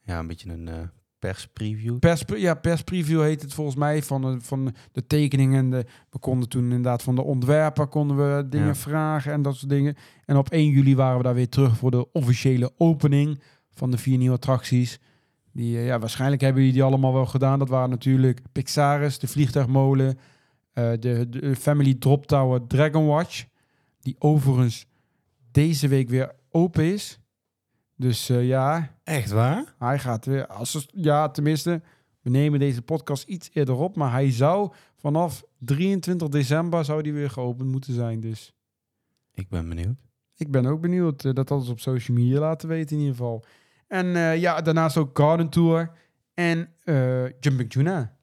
Speaker 2: Ja, een beetje een eh, perspreview.
Speaker 1: pers, ja, perspreview heet het volgens mij van de, van de tekeningen. En de, we konden toen inderdaad van de ontwerper konden we dingen
Speaker 2: Ja.
Speaker 1: vragen en dat soort dingen. En op 1 juli waren we daar weer terug voor de officiële opening van de vier nieuwe attracties. Die, eh, ja, waarschijnlijk hebben jullie die allemaal wel gedaan. Dat waren natuurlijk Pixaris, de Vliegtuigmolen, eh, de, de Family Drop Tower, Dragon Watch. Die overigens deze week weer open is. Dus eh, ja,
Speaker 2: Echt waar?
Speaker 1: hij gaat weer, als het- ja, tenminste, we nemen deze podcast iets eerder op, maar hij zou vanaf 23 december zou die weer geopend moeten zijn. Dus
Speaker 2: Ik ben benieuwd.
Speaker 1: ik ben ook benieuwd. eh, Dat hadden ze op social media laten weten in ieder geval. En eh, ja, daarnaast ook Garden Tour en eh, Jumping Tuna.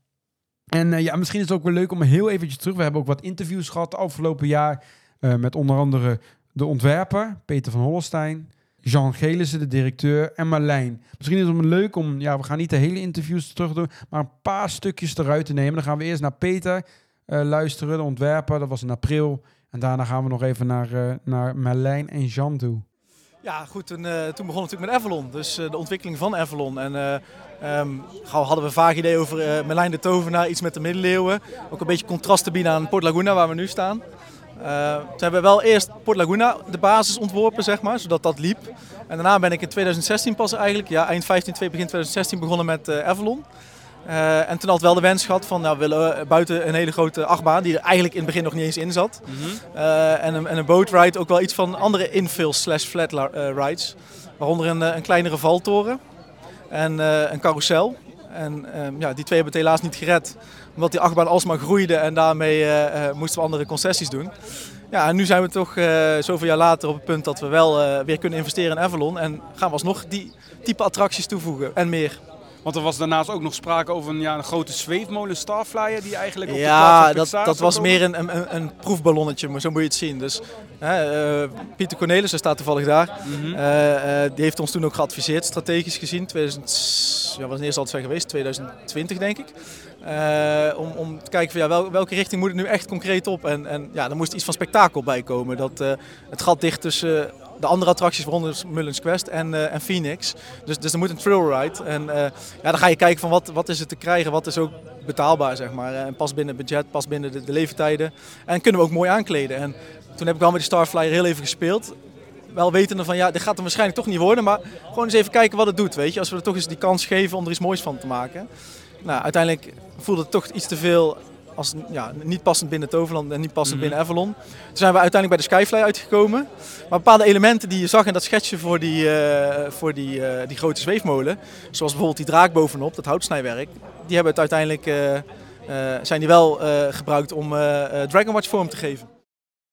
Speaker 1: En eh, ja, misschien is het ook wel leuk om heel eventjes terug... We hebben ook wat interviews gehad de afgelopen jaar... eh, met onder andere de ontwerper, Peter van Hollestein. Jean Gelissen, de directeur, en Marlijn. Misschien is het leuk om, ja, we gaan niet de hele interviews terug doen, maar een paar stukjes eruit te nemen. Dan gaan we eerst naar Peter eh, luisteren, de ontwerper. Dat was in april. En daarna gaan we nog even naar, eh naar Marlijn en Jean toe.
Speaker 5: Ja, goed. Toen, eh, toen begon het natuurlijk met Avalon. Dus eh, de ontwikkeling van Avalon. En eh, ehm, gauw hadden we een vaag idee over eh Merlijn de Tovenaar, iets met de middeleeuwen. Ook een beetje contrast te bieden aan Port Laguna, waar we nu staan. Eh, toen hebben we wel eerst Port Laguna de basis ontworpen, zeg maar, zodat dat liep. En daarna ben ik in 2016 pas eigenlijk, ja, eind 15, 2, begin 2016 begonnen met eh Avalon. Eh, en toen had ik wel de wens gehad van, nou willen we buiten een hele grote achtbaan, die er eigenlijk in het begin nog niet eens in zat. Eh, en, een, en een bootride ook wel iets van andere infills slash flat la- eh, rides. Waaronder een, eh, een kleinere valtoren en eh, een carousel. En ehm, ja, die twee hebben het helaas niet gered. Omdat die achtbaan alsmaar groeide en daarmee eh, eh, moesten we andere concessies doen. Ja, en nu zijn we toch eh, zoveel jaar later op het punt dat we wel eh, weer kunnen investeren in Avalon. En gaan we alsnog die type attracties toevoegen en meer.
Speaker 3: Want er was daarnaast ook nog sprake over een, ja, een grote zweefmolen Starflyer die eigenlijk op de plaats
Speaker 5: Ja,
Speaker 3: van
Speaker 5: dat,
Speaker 3: Pixar
Speaker 5: dat
Speaker 3: zou
Speaker 5: was
Speaker 3: komen.
Speaker 5: meer een, een, een- een proefballonnetje, maar zo moet je het zien. Dus, hè, eh, Pieter Cornelissen staat toevallig daar.
Speaker 3: Mhm.
Speaker 5: Eh, eh, die heeft ons toen ook geadviseerd, strategisch gezien. 2000, ja, wat is het altijd zijn geweest? 2020 denk ik. Eh, om, om te kijken van ja, wel- welke richting moet het nu echt concreet op? En, en ja, er moest iets van spektakel bij komen. Dat, eh, het gat dicht tussen eh, de andere attracties, waaronder Mullins Quest en, eh, en Phoenix. Dus, dus er moet een trail ride. En eh, ja, dan ga je kijken van wat, wat is het te krijgen, wat is ook betaalbaar, zeg maar. Eh, En pas binnen het budget, pas binnen de, de leeftijden. En kunnen we ook mooi aankleden. En toen heb ik wel met die Starflyer heel even gespeeld. Wel wetende van ja, dit gaat er waarschijnlijk toch niet worden. Maar gewoon eens even kijken wat het doet, weet je. Als we er toch eens die kans geven om er iets moois van te maken. Nou, uiteindelijk voelde het toch iets te veel als ja, niet passend binnen Toverland en niet passend
Speaker 3: Mhm.
Speaker 5: binnen Avalon. Toen zijn we uiteindelijk bij de Skyfly uitgekomen. Maar bepaalde elementen die je zag in dat schetsje voor die, eh, voor die, eh, die grote zweefmolen, zoals bijvoorbeeld die draak bovenop, dat houtsnijwerk, die hebben het uiteindelijk, eh, eh, zijn die wel eh, gebruikt om eh eh Dragon Watch vorm te geven.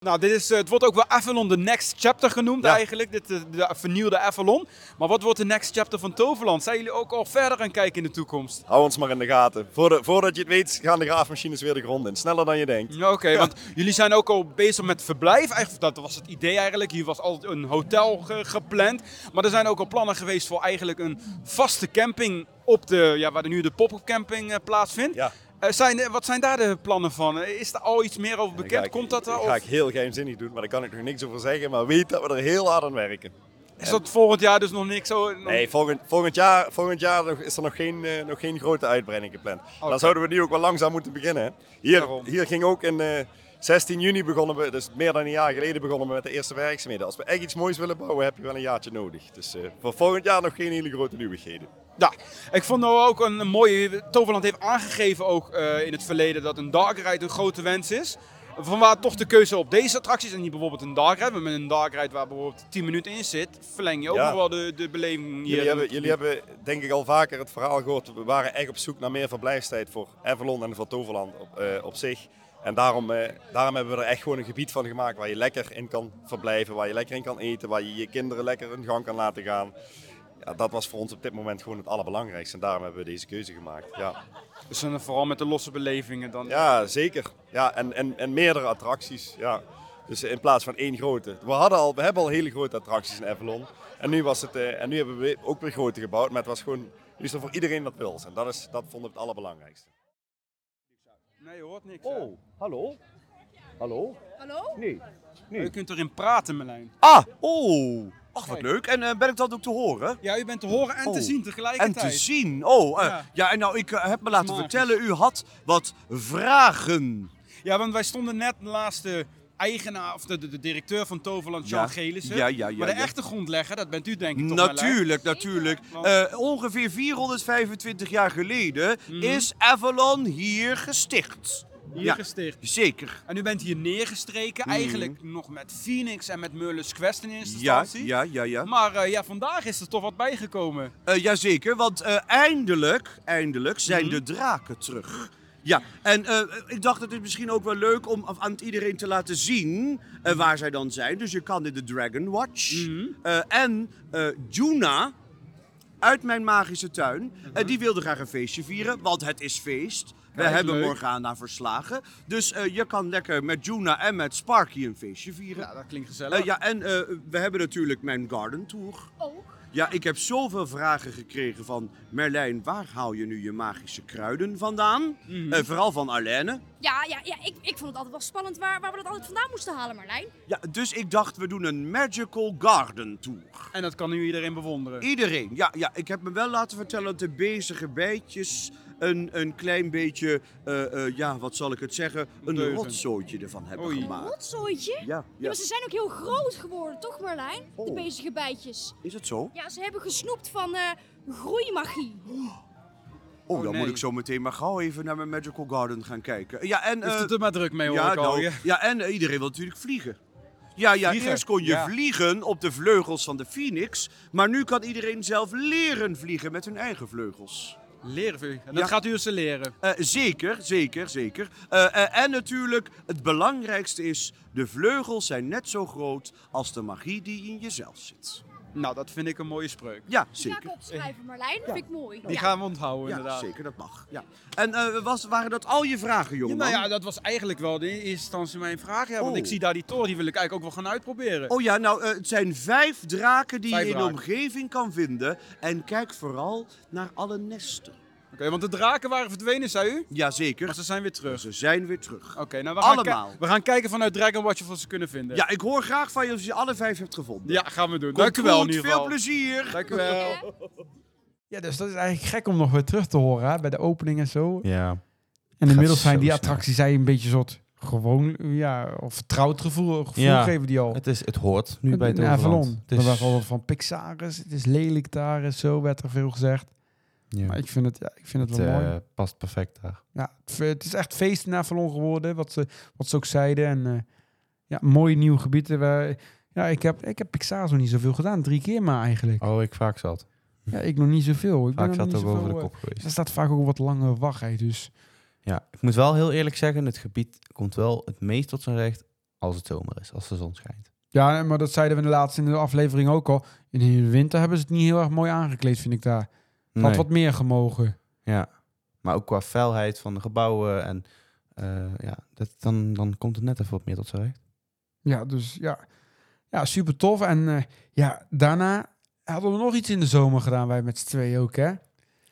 Speaker 3: Nou, dit is, eh, het wordt ook wel Avalon The Next Chapter genoemd
Speaker 5: Ja.
Speaker 3: eigenlijk. Dit, eh, de vernieuwde Avalon. Maar wat wordt de Next Chapter van Toverland? Zijn jullie ook al verder aan kijken in de toekomst?
Speaker 6: Hou ons maar in de gaten. Voordat, voordat je het weet, gaan de graafmachines weer de grond in. Sneller dan je denkt.
Speaker 3: Ja, Oké, want jullie zijn ook al bezig met verblijf. Eigenlijk, dat was het idee eigenlijk. Hier was altijd een hotel ge- gepland. Maar er zijn ook al plannen geweest voor eigenlijk een vaste camping op de, ja, waar nu de pop-up camping eh, plaatsvindt.
Speaker 6: Ja.
Speaker 3: Eh, zijn, eh, wat zijn daar de plannen van? Eh, Is er al iets meer over
Speaker 6: Dan
Speaker 3: bekend?
Speaker 6: ga ik-
Speaker 3: Komt dat er?
Speaker 6: dan
Speaker 3: Of
Speaker 6: ga ik heel geheimzinnig doen, maar daar kan ik nog niks over zeggen. Maar weet dat we er heel hard aan werken.
Speaker 3: is dat volgend jaar dus nog niks? Zo,
Speaker 6: Nee, volgend, volgend jaar, volgend jaar nog- is er nog geen, eh, nog geen grote uitbreiding gepland. Dan zouden we nu ook wel langzaam moeten beginnen. hè. Hier,
Speaker 3: Daarom.
Speaker 6: hier ging ook in eh, 16 juni begonnen we, dus meer dan een jaar geleden begonnen we met de eerste werkzaamheden. Als we echt iets moois willen bouwen, heb je wel een jaartje nodig. Dus eh, voor volgend jaar nog geen hele grote nieuwigheden.
Speaker 3: Ja, ik vond nou ook een mooie. Toverland heeft aangegeven ook eh, in het verleden dat een dark ride een grote wens is. Vanwaar toch de keuze op deze attracties en niet bijvoorbeeld een dark ride. Maar met een dark ride waar bijvoorbeeld 10 minuten in zit, verleng je ook
Speaker 6: Ja.
Speaker 3: nog wel de, de beleving hier.
Speaker 6: Jullie, hebben, jullie hebben denk ik al vaker het verhaal gehoord. We waren echt op zoek naar meer verblijfstijd voor Avalon en voor Toverland op, eh, op zich. En daarom, eh, daarom hebben we er echt gewoon een gebied van gemaakt waar je lekker in kan verblijven, waar je lekker in kan eten, waar je je kinderen lekker hun gang kan laten gaan. Ja, dat was voor ons op dit moment gewoon het allerbelangrijkste en daarom hebben we deze keuze gemaakt. Ja,
Speaker 3: Dus dan vooral met de losse belevingen dan.
Speaker 6: ja zeker. Ja, en, en, en meerdere attracties. Ja. Dus in plaats van één grote. We, hadden al, we hebben al hele grote attracties in Avalon. En nu, was het, eh, en nu hebben we ook weer grote gebouwd. Maar het was gewoon, nu is er voor iedereen wat wil. En dat, is, dat vonden we het allerbelangrijkste.
Speaker 3: Nee, je hoort niks. hè?
Speaker 6: Oh, hallo? Hallo?
Speaker 7: Hallo?
Speaker 6: Nee.
Speaker 3: Je kunt erin praten, Merlijn.
Speaker 6: Ah, oh. Ach, wat leuk. En eh, ben ik dat ook te horen?
Speaker 3: Ja, u bent te horen en te
Speaker 6: Oh,
Speaker 3: zien
Speaker 6: En
Speaker 3: tegelijkertijd.
Speaker 6: te zien. Oh, eh,
Speaker 3: Ja.
Speaker 6: ja. en nou, ik eh, heb me laten
Speaker 3: Magisch.
Speaker 6: vertellen, u had wat vragen.
Speaker 3: Ja, want wij stonden net naast de eigenaar, of de, de, de directeur van Toverland, Jean
Speaker 6: Ja.
Speaker 3: Gelissen.
Speaker 6: Ja, ja, ja,
Speaker 3: maar de
Speaker 6: ja.
Speaker 3: echte grondlegger, dat bent u denk ik toch, Merlijn?
Speaker 6: Natuurlijk, natuurlijk.
Speaker 3: Want-
Speaker 6: Eh, ongeveer 425 jaar geleden is Avalon hier gesticht.
Speaker 3: Hier
Speaker 6: Ja.
Speaker 3: gesticht.
Speaker 6: Zeker.
Speaker 3: En u bent hier neergestreken,
Speaker 6: Mm.
Speaker 3: eigenlijk nog met Phoenix en met Mullis Quest in eerste
Speaker 6: Ja,
Speaker 3: instantie.
Speaker 6: ja, ja, ja.
Speaker 3: Maar eh, ja, vandaag is er toch wat bijgekomen.
Speaker 6: Eh, jazeker, want eh, eindelijk, eindelijk zijn
Speaker 3: Mhm.
Speaker 6: de draken terug. Ja, en eh, ik dacht het is misschien ook wel leuk om aan iedereen te laten zien eh, waar zij
Speaker 3: Mhm.
Speaker 6: dan zijn. Dus je kan in de Dragon Watch. eh, en eh Juna
Speaker 7: uit mijn magische tuin. En die wilde graag een feestje vieren, want het is feest. We
Speaker 3: Mhm. Kijk,
Speaker 7: hebben
Speaker 3: leuk.
Speaker 7: Morgana verslagen. Dus eh, je kan lekker met Juna en met Sparky een feestje vieren.
Speaker 3: dat klinkt
Speaker 7: Eh,
Speaker 3: gezellig.
Speaker 7: ja, en eh, we hebben natuurlijk mijn garden tour.
Speaker 8: Ook.
Speaker 7: Ja, ik heb zoveel vragen gekregen van Merlijn, waar haal je nu je magische kruiden vandaan? Eh, vooral van Arlene.
Speaker 8: Ja, ja, ja ik, ik vond het altijd wel spannend waar, waar we dat altijd vandaan moesten halen, Marlijn.
Speaker 7: Ja, dus ik dacht, we doen een magical garden tour.
Speaker 3: En dat kan nu iedereen bewonderen.
Speaker 7: Iedereen, ja, ja, ik heb me wel laten vertellen dat de bezige bijtjes een, een klein beetje, eh, eh, ja, wat zal ik het zeggen, een
Speaker 3: Deugend.
Speaker 7: rotzootje ervan hebben
Speaker 3: Oei.
Speaker 7: gemaakt.
Speaker 8: Rotzooitje?
Speaker 7: Ah. Ja,
Speaker 8: Ja,
Speaker 7: ja,
Speaker 8: maar ze zijn ook heel groot geworden, toch Marlijn? De
Speaker 7: Oh.
Speaker 8: bezige bijtjes.
Speaker 7: is het zo?
Speaker 8: Ja, ze hebben gesnoept van eh, groeimagie.
Speaker 7: Oh, dan
Speaker 3: nee.
Speaker 7: moet ik zo meteen maar gauw even naar mijn magical garden gaan kijken. Ja, en...
Speaker 3: Is
Speaker 7: eh,
Speaker 3: het er maar druk mee hoor
Speaker 7: ja,
Speaker 3: ik al.
Speaker 7: nou,
Speaker 3: Ja.
Speaker 7: ja, en eh, iedereen wil natuurlijk vliegen. Ja, ja
Speaker 3: Vliegen,
Speaker 7: eerst kon je
Speaker 3: ja.
Speaker 7: vliegen op de vleugels van de Phoenix, maar nu kan iedereen zelf leren vliegen met hun eigen vleugels.
Speaker 3: Leren vind ik. En
Speaker 7: Ja.
Speaker 3: dat gaat u dus leren.
Speaker 7: Eh, zeker, zeker, zeker. Eh, eh, en natuurlijk, het belangrijkste is, de vleugels zijn net zo groot als de magie die in jezelf zit.
Speaker 3: Nou, dat vind ik een mooie spreuk.
Speaker 7: Ja,
Speaker 8: Die ga ik
Speaker 7: zeker.
Speaker 8: opschrijven, Marlijn. Dat vind ik mooi.
Speaker 3: Die
Speaker 8: Ja.
Speaker 3: gaan we onthouden
Speaker 7: Ja,
Speaker 3: inderdaad.
Speaker 7: zeker, dat mag. Ja. En eh, was, waren dat al je vragen,
Speaker 3: Ja,
Speaker 7: jongeman?
Speaker 3: nou ja, dat was eigenlijk wel de in eerste instantie mijn vraag. Ja, want
Speaker 7: Oh.
Speaker 3: ik zie daar die toren, die wil ik eigenlijk ook wel gaan uitproberen.
Speaker 7: Oh ja, nou, eh, het zijn vijf draken die
Speaker 3: Vijf
Speaker 7: je in de
Speaker 3: draken.
Speaker 7: omgeving kan vinden. En kijk vooral naar alle nesten.
Speaker 3: Oké, want de draken waren verdwenen, zei u? Maar
Speaker 7: Jazeker,
Speaker 3: ze zijn weer terug.
Speaker 7: ze zijn weer terug.
Speaker 3: Oké, nou we gaan,
Speaker 7: Allemaal.
Speaker 3: ki- we gaan kijken vanuit Dragon Watch of we ze kunnen vinden.
Speaker 7: Ja, ik hoor graag van je of je alle vijf hebt gevonden.
Speaker 3: Ja, gaan we doen. Dank u wel in ieder
Speaker 7: Veel
Speaker 3: geval.
Speaker 7: plezier.
Speaker 3: Dank u wel.
Speaker 8: Eh,
Speaker 1: Ja, dus dat is eigenlijk gek om nog weer terug te horen hè, bij de opening en zo.
Speaker 2: Ja.
Speaker 1: En inmiddels zijn
Speaker 2: zo
Speaker 1: die
Speaker 2: snel.
Speaker 1: attracties zij een beetje soort gewoon, ja, of vertrouwd gevoel, gevoel
Speaker 2: Ja.
Speaker 1: geven die al.
Speaker 2: Het, is, het hoort nu bij het
Speaker 1: In
Speaker 2: Overland.
Speaker 1: Avalon.
Speaker 2: Het
Speaker 1: We
Speaker 2: is-
Speaker 1: waren altijd van Pixar, is- het is lelijk daar en zo, werd er veel gezegd.
Speaker 2: ja,
Speaker 1: Maar ik vind het, ja, ik vind het
Speaker 2: het
Speaker 1: wel mooi.
Speaker 2: eh, past perfect daar.
Speaker 1: Ja, het- het is echt feest in Avalon geworden, wat ze, wat ze ook zeiden. En eh, ja, mooie nieuwe gebieden. Waar, ja, ik heb, ik heb Pixar zo niet zoveel gedaan. Drie keer maar eigenlijk.
Speaker 2: Oh, ik vaak zat.
Speaker 1: Ja, ik nog niet zoveel. Ik ben
Speaker 2: Vaak
Speaker 1: nog
Speaker 2: zat
Speaker 1: niet
Speaker 2: er boven de
Speaker 1: zoveel,
Speaker 2: kop
Speaker 1: eh,
Speaker 2: geweest.
Speaker 1: Er staat vaak ook wat lange wachttijd, dus...
Speaker 2: Ja, ik moet wel heel eerlijk zeggen, het gebied komt wel het meest tot zijn recht als het zomer is, als de zon schijnt.
Speaker 1: Ja, maar dat zeiden we in de laatste in de aflevering ook al. In de winter hebben ze het niet heel erg mooi aangekleed, vind ik daar. Het Had
Speaker 2: Nee.
Speaker 1: wat meer gemogen.
Speaker 2: Ja, maar ook qua vuilheid van de gebouwen en eh, ja, dat, dan, dan komt het net even wat meer tot zijn recht.
Speaker 1: Ja, dus ja. Ja, super tof. En eh, ja, daarna hadden we nog iets in de zomer gedaan, wij met z'n tweeën ook, hè?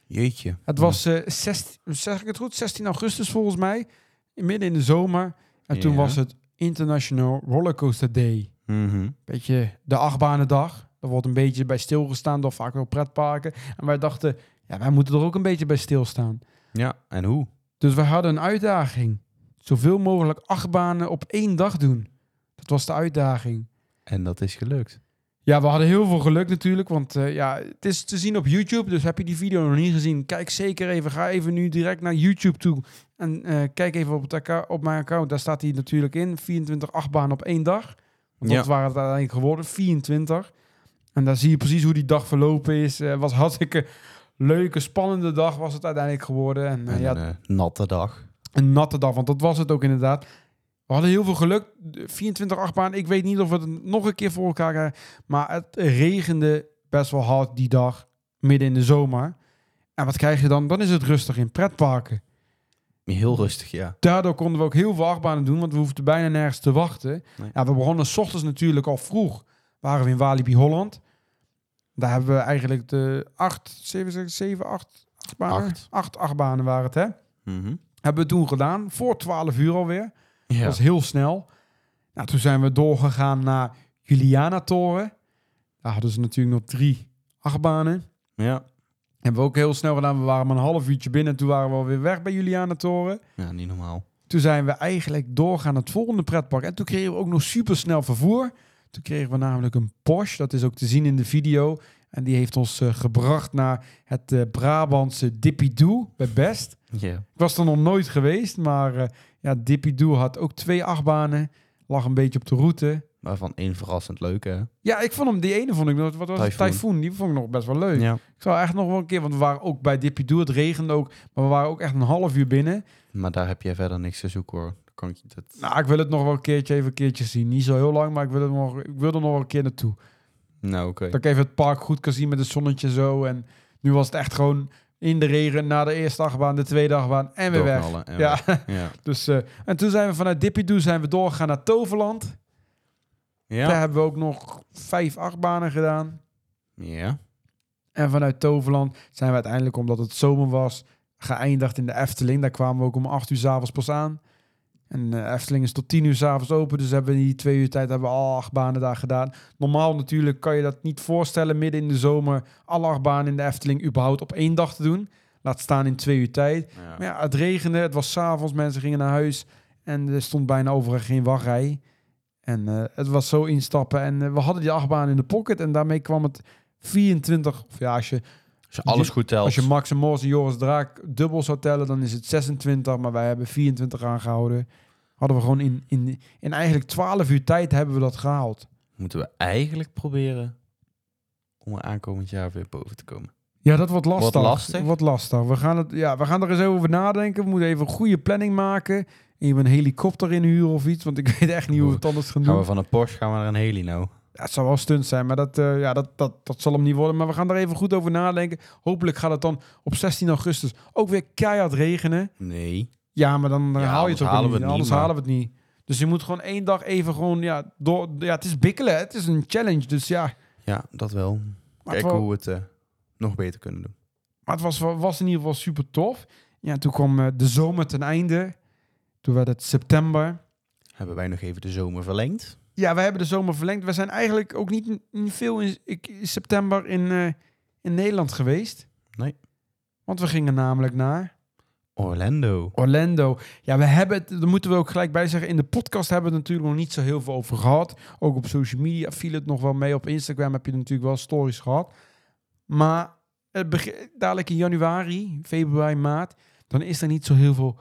Speaker 2: Jeetje.
Speaker 1: Het was eh 16, zeg ik het goed, 16 augustus volgens mij, midden in de zomer. En toen
Speaker 2: Ja.
Speaker 1: was het International Rollercoaster Day.
Speaker 2: Mhm.
Speaker 1: Beetje de achtbanendag. Er wordt een beetje bij stilgestaan door vaak wel pretparken. En wij dachten, ja, wij moeten er ook een beetje bij stilstaan.
Speaker 2: Ja, en hoe?
Speaker 1: Dus we hadden een uitdaging. Zoveel mogelijk achtbanen op één dag doen. Dat was de uitdaging.
Speaker 2: En dat is gelukt.
Speaker 1: Ja, we hadden heel veel geluk natuurlijk, want eh, ja, het is te zien op YouTube. Dus heb je die video nog niet gezien, kijk zeker even. Ga even nu direct naar YouTube toe en eh, kijk even op, het acca- op mijn account. Daar staat hij natuurlijk in, 24 achtbanen op één dag. Want dat
Speaker 2: Ja.
Speaker 1: waren het uiteindelijk geworden, 24. En daar zie je precies hoe die dag verlopen is. Eh was hartstikke leuke, spannende dag was het uiteindelijk geworden. En, eh,
Speaker 2: En
Speaker 1: ja,
Speaker 2: een eh, natte dag.
Speaker 1: een natte dag, want dat was het ook inderdaad. We hadden heel veel geluk. 24 achtbaan. Ik weet niet of we het nog een keer voor elkaar krijgen. Maar het regende best wel hard die dag. Midden in de zomer. En wat krijg je dan? Dan is het rustig in pretparken.
Speaker 2: Heel rustig, ja.
Speaker 1: Daardoor konden we ook heel veel achtbanen doen. Want we hoefden bijna nergens te wachten.
Speaker 2: Nee.
Speaker 1: Ja, we begonnen 's ochtends natuurlijk al vroeg. Waren we in Walibi Holland. Daar hebben we eigenlijk de acht, zeven, zeven, zeven acht achtbanen.
Speaker 2: Acht.
Speaker 1: acht achtbanen waren het, hè?
Speaker 2: Mhm.
Speaker 1: Hebben we toen gedaan. Voor 12 uur alweer.
Speaker 2: ja.
Speaker 1: Dat was heel snel. Nou, toen zijn we doorgegaan naar Juliana-toren. Daar hadden ze natuurlijk nog drie achtbanen.
Speaker 2: ja.
Speaker 1: Hebben we ook heel snel gedaan. We waren maar een half uurtje binnen. Toen waren we alweer weg bij Juliana-toren.
Speaker 2: Ja, niet normaal.
Speaker 1: Toen zijn we eigenlijk doorgaan naar het volgende pretpark. En toen kregen we ook nog supersnel vervoer. Toen kregen we namelijk een Porsche. Dat is ook te zien in de video. En die heeft ons eh, gebracht naar het eh, Brabantse Dippy Doe bij Best.
Speaker 2: Ja.
Speaker 1: Ik was er nog nooit geweest, maar eh, ja, Dippy Doe had ook twee achtbanen. Lag een beetje op de route.
Speaker 2: Waarvan één verrassend leuk, hè?
Speaker 1: Ja, ik vond hem, die ene vond ik, nog- wat was het,
Speaker 2: Typhoon.
Speaker 1: Typhoon, die vond ik nog best wel leuk.
Speaker 2: Ja.
Speaker 1: Ik zou echt nog wel een keer, want we waren ook bij Dippy Doe, het regende ook, maar we waren ook echt een half uur binnen.
Speaker 2: Maar daar heb jij verder niks te zoeken, hoor. Dan Kan ik je dat...
Speaker 1: Nou, ik wil het nog wel een keertje even een keertje zien. Niet zo heel lang, maar ik wil, het nog, ik wil er nog wel een keer naartoe.
Speaker 2: Nou, oké.
Speaker 1: Dat ik even het park goed kan zien met het zonnetje zo. En nu was het echt gewoon in de regen na de eerste dagbaan, de tweede dagbaan en weer weg.
Speaker 2: Doorknallen en
Speaker 1: Ja,
Speaker 2: weg. Ja.
Speaker 1: dus, eh, en toen zijn we vanuit Dippidoe zijn we doorgegaan naar Toverland. Daar
Speaker 2: Ja.
Speaker 1: hebben we ook nog vijf achtbanen gedaan.
Speaker 2: Ja.
Speaker 1: En vanuit Toverland zijn we uiteindelijk, omdat het zomer was, geëindigd in de Efteling. Daar kwamen we ook om acht uur s'avonds pas aan. En de Efteling is tot tien uur s'avonds open. Dus hebben we in die twee uur tijd hebben we alle acht banen daar gedaan. Normaal natuurlijk kan je dat niet voorstellen midden in de zomer. Alle acht banen in de Efteling überhaupt op één dag te doen. Laat staan in twee uur tijd.
Speaker 2: Ja.
Speaker 1: Maar ja, het regende, het was s'avonds, mensen gingen naar huis. En er stond bijna overal geen wachtrij. En eh, het was zo instappen. En eh, we hadden die achtbaan in de pocket. En daarmee kwam het 24... Of ja, als je
Speaker 2: Als je alles goed telt.
Speaker 1: als je Max en Mors en Joris Draak dubbel zou tellen, dan is het 26, maar wij hebben 24 aangehouden. Hadden we gewoon in, in, in eigenlijk 12 uur tijd hebben we dat gehaald.
Speaker 2: Moeten we eigenlijk proberen om er aankomend jaar weer boven te komen.
Speaker 1: Ja, dat wordt lastig.
Speaker 2: Wordt lastig?
Speaker 1: Wordt lastig. We gaan, het, ja, we gaan er eens over nadenken. We moeten even een goede planning maken. Even een helikopter inhuren of iets, want ik weet echt niet hoe we het anders gaan
Speaker 2: Gaan we
Speaker 1: doen.
Speaker 2: van een Porsche gaan we naar een heli nou?
Speaker 1: Ja, het zou wel stunt zijn, maar dat, eh, ja, dat, dat, dat zal hem niet worden. Maar we gaan er even goed over nadenken. Hopelijk gaat het dan op 16 augustus ook weer keihard regenen.
Speaker 2: Nee.
Speaker 1: Ja, maar dan dan
Speaker 2: Ja,
Speaker 1: haal je
Speaker 2: anders
Speaker 1: het ook
Speaker 2: halen
Speaker 1: niet.
Speaker 2: we het niet,
Speaker 1: anders
Speaker 2: maar-
Speaker 1: halen we het niet. Dus je moet gewoon één dag even gewoon, ja, door, ja, het is bikkelen. Het is een challenge, dus ja.
Speaker 2: Ja, dat wel.
Speaker 1: Maar het,
Speaker 2: Kijken
Speaker 1: wa-
Speaker 2: hoe we het eh, nog beter kunnen doen.
Speaker 1: maar het was, was in ieder geval super tof. Ja, toen kwam eh, de zomer ten einde. Toen werd het september.
Speaker 2: Hebben wij nog even de zomer verlengd?
Speaker 1: Ja, we hebben de zomer verlengd. We zijn eigenlijk ook niet, niet veel in, ik- in september in, eh, in Nederland geweest.
Speaker 2: Nee.
Speaker 1: Want we gingen namelijk naar...
Speaker 2: Orlando.
Speaker 1: Orlando. Ja, we hebben het, daar moeten we ook gelijk bij zeggen. In de podcast hebben we het natuurlijk nog niet zo heel veel over gehad. Ook op social media viel het nog wel mee. Op Instagram heb je natuurlijk wel stories gehad. Maar het beg- dadelijk in januari, februari, maart, dan is er niet zo heel veel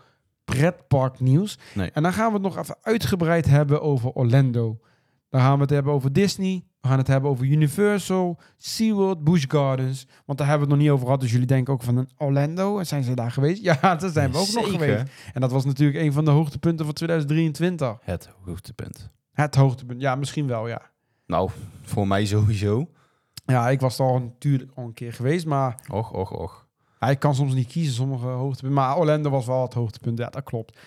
Speaker 1: pretparknieuws.
Speaker 2: Nee.
Speaker 1: En dan gaan we het nog even uitgebreid hebben over Orlando. Dan gaan we het hebben over Disney. We gaan het hebben over Universal, SeaWorld, Busch Gardens. Want daar hebben we het nog niet over gehad. Dus jullie denken ook van Orlando. Zijn ze daar geweest? Ja, daar zijn we ook nog
Speaker 2: Zeker.
Speaker 1: geweest. En dat was natuurlijk een van de hoogtepunten van 2023.
Speaker 2: Het hoogtepunt.
Speaker 1: Het hoogtepunt. Ja, misschien wel, ja.
Speaker 2: Nou, voor mij sowieso.
Speaker 1: Ja, ik was er al een, tuur, al een keer geweest, maar
Speaker 2: Och, och, och.
Speaker 1: hij kan soms niet kiezen sommige hoogtepunten. Maar Orlando was wel het hoogtepunt, ja, dat klopt.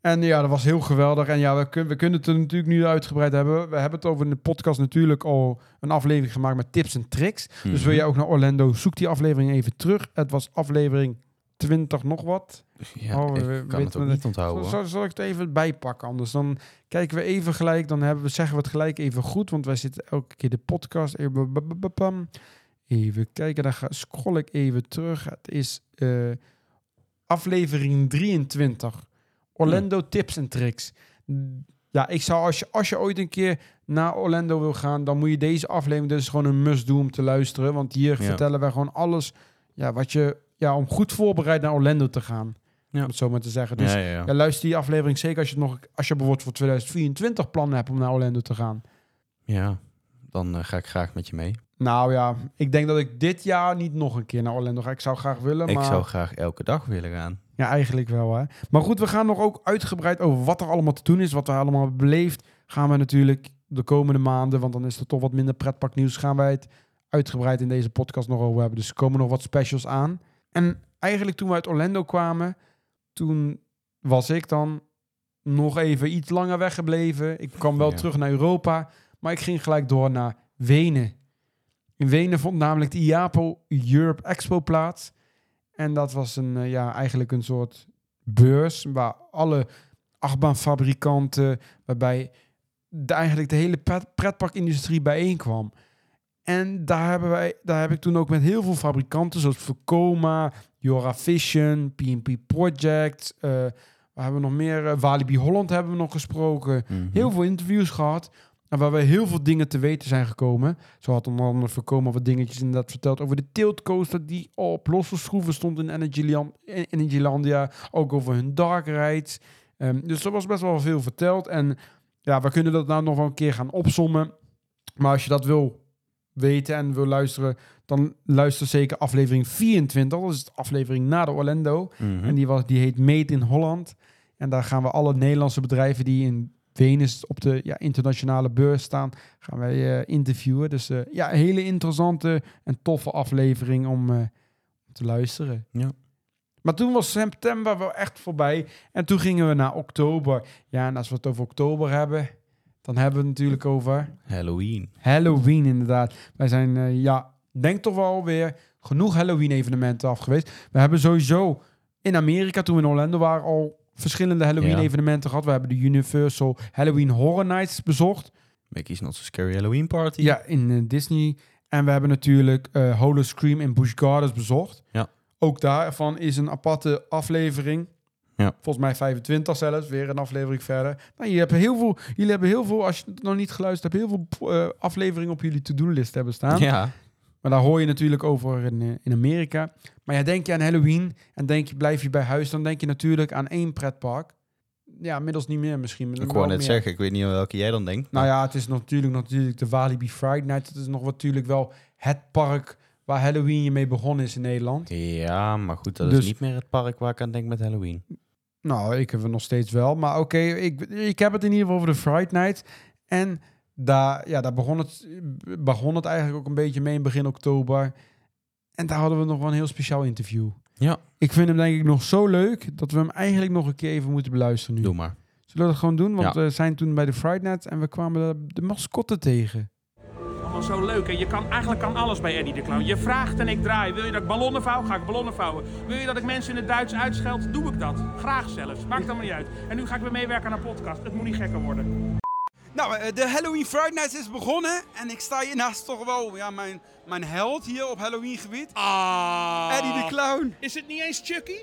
Speaker 1: En ja, dat was heel geweldig. En ja, we, kun- we kunnen het er natuurlijk nu uitgebreid hebben. We hebben het over in de podcast natuurlijk al een aflevering gemaakt met tips en tricks.
Speaker 2: Mhm.
Speaker 1: Dus wil jij ook naar Orlando, zoek die aflevering even terug. Het was aflevering 20 nog wat.
Speaker 2: Ja,
Speaker 1: Oh, we- we-
Speaker 2: ik kan het
Speaker 1: weten
Speaker 2: ook
Speaker 1: we-
Speaker 2: niet onthouden. hoor.
Speaker 1: Zal, zal ik het even bijpakken? Anders dan kijken we even gelijk. Dan hebben we, zeggen we het gelijk even goed. Want wij zitten elke keer de podcast. Even ba- ba- ba- pam. Even kijken. Dan ga, scroll ik even terug. Het is eh, aflevering 23. Orlando
Speaker 2: Hmm.
Speaker 1: tips en tricks. Ja, ik zou als je, als je ooit een keer naar Orlando wil gaan, dan moet je deze aflevering dus gewoon een must doen om te luisteren. Want hier
Speaker 2: Ja.
Speaker 1: vertellen wij gewoon alles ja, wat je, ja, om goed voorbereid naar Orlando te gaan.
Speaker 2: Ja.
Speaker 1: Om het zo maar te zeggen. Dus
Speaker 2: ja, ja, ja.
Speaker 1: ja, luister die aflevering zeker als je, het nog, als je bijvoorbeeld voor 2024 plannen hebt om naar Orlando te gaan.
Speaker 2: Ja, dan eh, ga ik graag met je mee.
Speaker 1: Nou ja, ik denk dat ik dit jaar niet nog een keer naar Orlando ga. Ik zou graag willen,
Speaker 2: Ik
Speaker 1: maar...
Speaker 2: zou graag elke dag willen gaan.
Speaker 1: Ja, eigenlijk wel, hè. Maar goed, we gaan nog ook uitgebreid over wat er allemaal te doen is, wat er allemaal hebben beleefd. Gaan we natuurlijk de komende maanden, want dan is er toch wat minder pretparknieuws, gaan wij het uitgebreid in deze podcast nog over hebben. Dus er komen nog wat specials aan. En eigenlijk toen we uit Orlando kwamen, toen was ik dan nog even iets langer weggebleven. Ik kwam wel
Speaker 2: Ja.
Speaker 1: terug naar Europa, maar ik ging gelijk door naar Wenen. In Wenen vond namelijk de IAPO Europe Expo plaats. En dat was een, eh, ja, eigenlijk een soort beurs waar alle achtbaanfabrikanten, waarbij de, eigenlijk de hele pret- pretparkindustrie bijeenkwam. En daar, hebben wij, daar heb ik toen ook met heel veel fabrikanten, zoals Vekoma, Jora Vision, PNP Project, eh waar hebben we nog meer? Eh, Walibi Holland hebben we nog gesproken
Speaker 2: Mhm.
Speaker 1: heel veel interviews gehad. En waar we heel veel dingen te weten zijn gekomen. Zo had onder andere voorkomen wat dingetjes inderdaad verteld over de tiltcoaster die op losse schroeven stond in Energyland- in Energylandia. Ook over hun dark rides. Ehm, dus er was best wel veel verteld. En ja, we kunnen dat nou nog wel een keer gaan opsommen. Maar als je dat wil weten en wil luisteren, dan luister zeker aflevering 24. Dat is de aflevering na de Orlando.
Speaker 2: Mhm.
Speaker 1: En die, was, die heet Made in Holland. En daar gaan we alle Nederlandse bedrijven die in Venus op de ja, internationale beurs staan. Gaan wij eh, interviewen. Dus eh, ja, een hele interessante en toffe aflevering om eh, te luisteren.
Speaker 2: Ja.
Speaker 1: Maar toen was september wel echt voorbij. En toen gingen we naar oktober. Ja, en als we het over oktober hebben, dan hebben we het natuurlijk over...
Speaker 2: Halloween.
Speaker 1: Halloween inderdaad. Wij zijn, eh, ja, denk toch wel weer genoeg Halloween-evenementen af geweest. We hebben sowieso in Amerika, toen we in Orlando waren, al verschillende Halloween-evenementen gehad. We hebben de Universal Halloween Horror Nights bezocht.
Speaker 2: Mickey's Not So Scary Halloween Party.
Speaker 1: Ja, in eh, Disney. En we hebben natuurlijk eh Holo Scream in Busch Gardens bezocht.
Speaker 2: Ja.
Speaker 1: Ook daarvan is een aparte aflevering.
Speaker 2: Ja.
Speaker 1: Volgens mij 25 zelfs, weer een aflevering verder. Nou, jullie, hebben heel veel, jullie hebben heel veel, als je het nog niet geluisterd hebt, heel veel eh, afleveringen op jullie to-do-list hebben staan.
Speaker 2: Ja.
Speaker 1: Maar daar hoor je natuurlijk over in, eh, in Amerika. Maar ja, denk je aan Halloween en denk je, blijf je bij huis, dan denk je natuurlijk aan één pretpark. Ja, inmiddels niet meer misschien. maar
Speaker 2: Ik
Speaker 1: wel
Speaker 2: wou net
Speaker 1: meer.
Speaker 2: zeggen, ik weet niet welke jij dan denkt.
Speaker 1: Nou ja, het is natuurlijk, natuurlijk de Walibi Friday Night. Het is nog natuurlijk wel het park waar Halloween je mee begonnen is in Nederland.
Speaker 2: Ja, maar goed, dat
Speaker 1: Dus-
Speaker 2: is niet meer het park waar ik aan denk met Halloween.
Speaker 1: Nou, ik heb het nog steeds wel. Maar oké, ik, ik heb het in ieder geval over de Friday Night. En daar, ja, daar begon, het, begon het eigenlijk ook een beetje mee in begin oktober. En daar hadden we nog wel een heel speciaal interview.
Speaker 2: Ja.
Speaker 1: Ik vind hem denk ik nog zo leuk dat we hem eigenlijk nog een keer even moeten beluisteren nu.
Speaker 2: Doe maar.
Speaker 1: Zullen we dat gewoon doen? Want
Speaker 2: Ja.
Speaker 1: we zijn toen bij de Friday Night en we kwamen de, de mascotte tegen.
Speaker 9: Allemaal zo leuk. En je kan eigenlijk kan alles bij Eddie de Clown. Je vraagt en ik draai. Wil je dat ik ballonnen vouw? Ga ik ballonnen vouwen. Wil je dat ik mensen in het Duits uitscheld? Doe ik dat. Graag zelfs. Maakt allemaal niet uit. En nu ga ik weer meewerken aan een podcast. Het moet niet gekker worden.
Speaker 3: Nou, eh, de Halloween Friday Night is begonnen. En ik sta hier naast toch wel ja, mijn, mijn held hier op Halloween gebied.
Speaker 9: Ah.
Speaker 3: Eddie de Clown.
Speaker 9: Is het niet eens Chucky?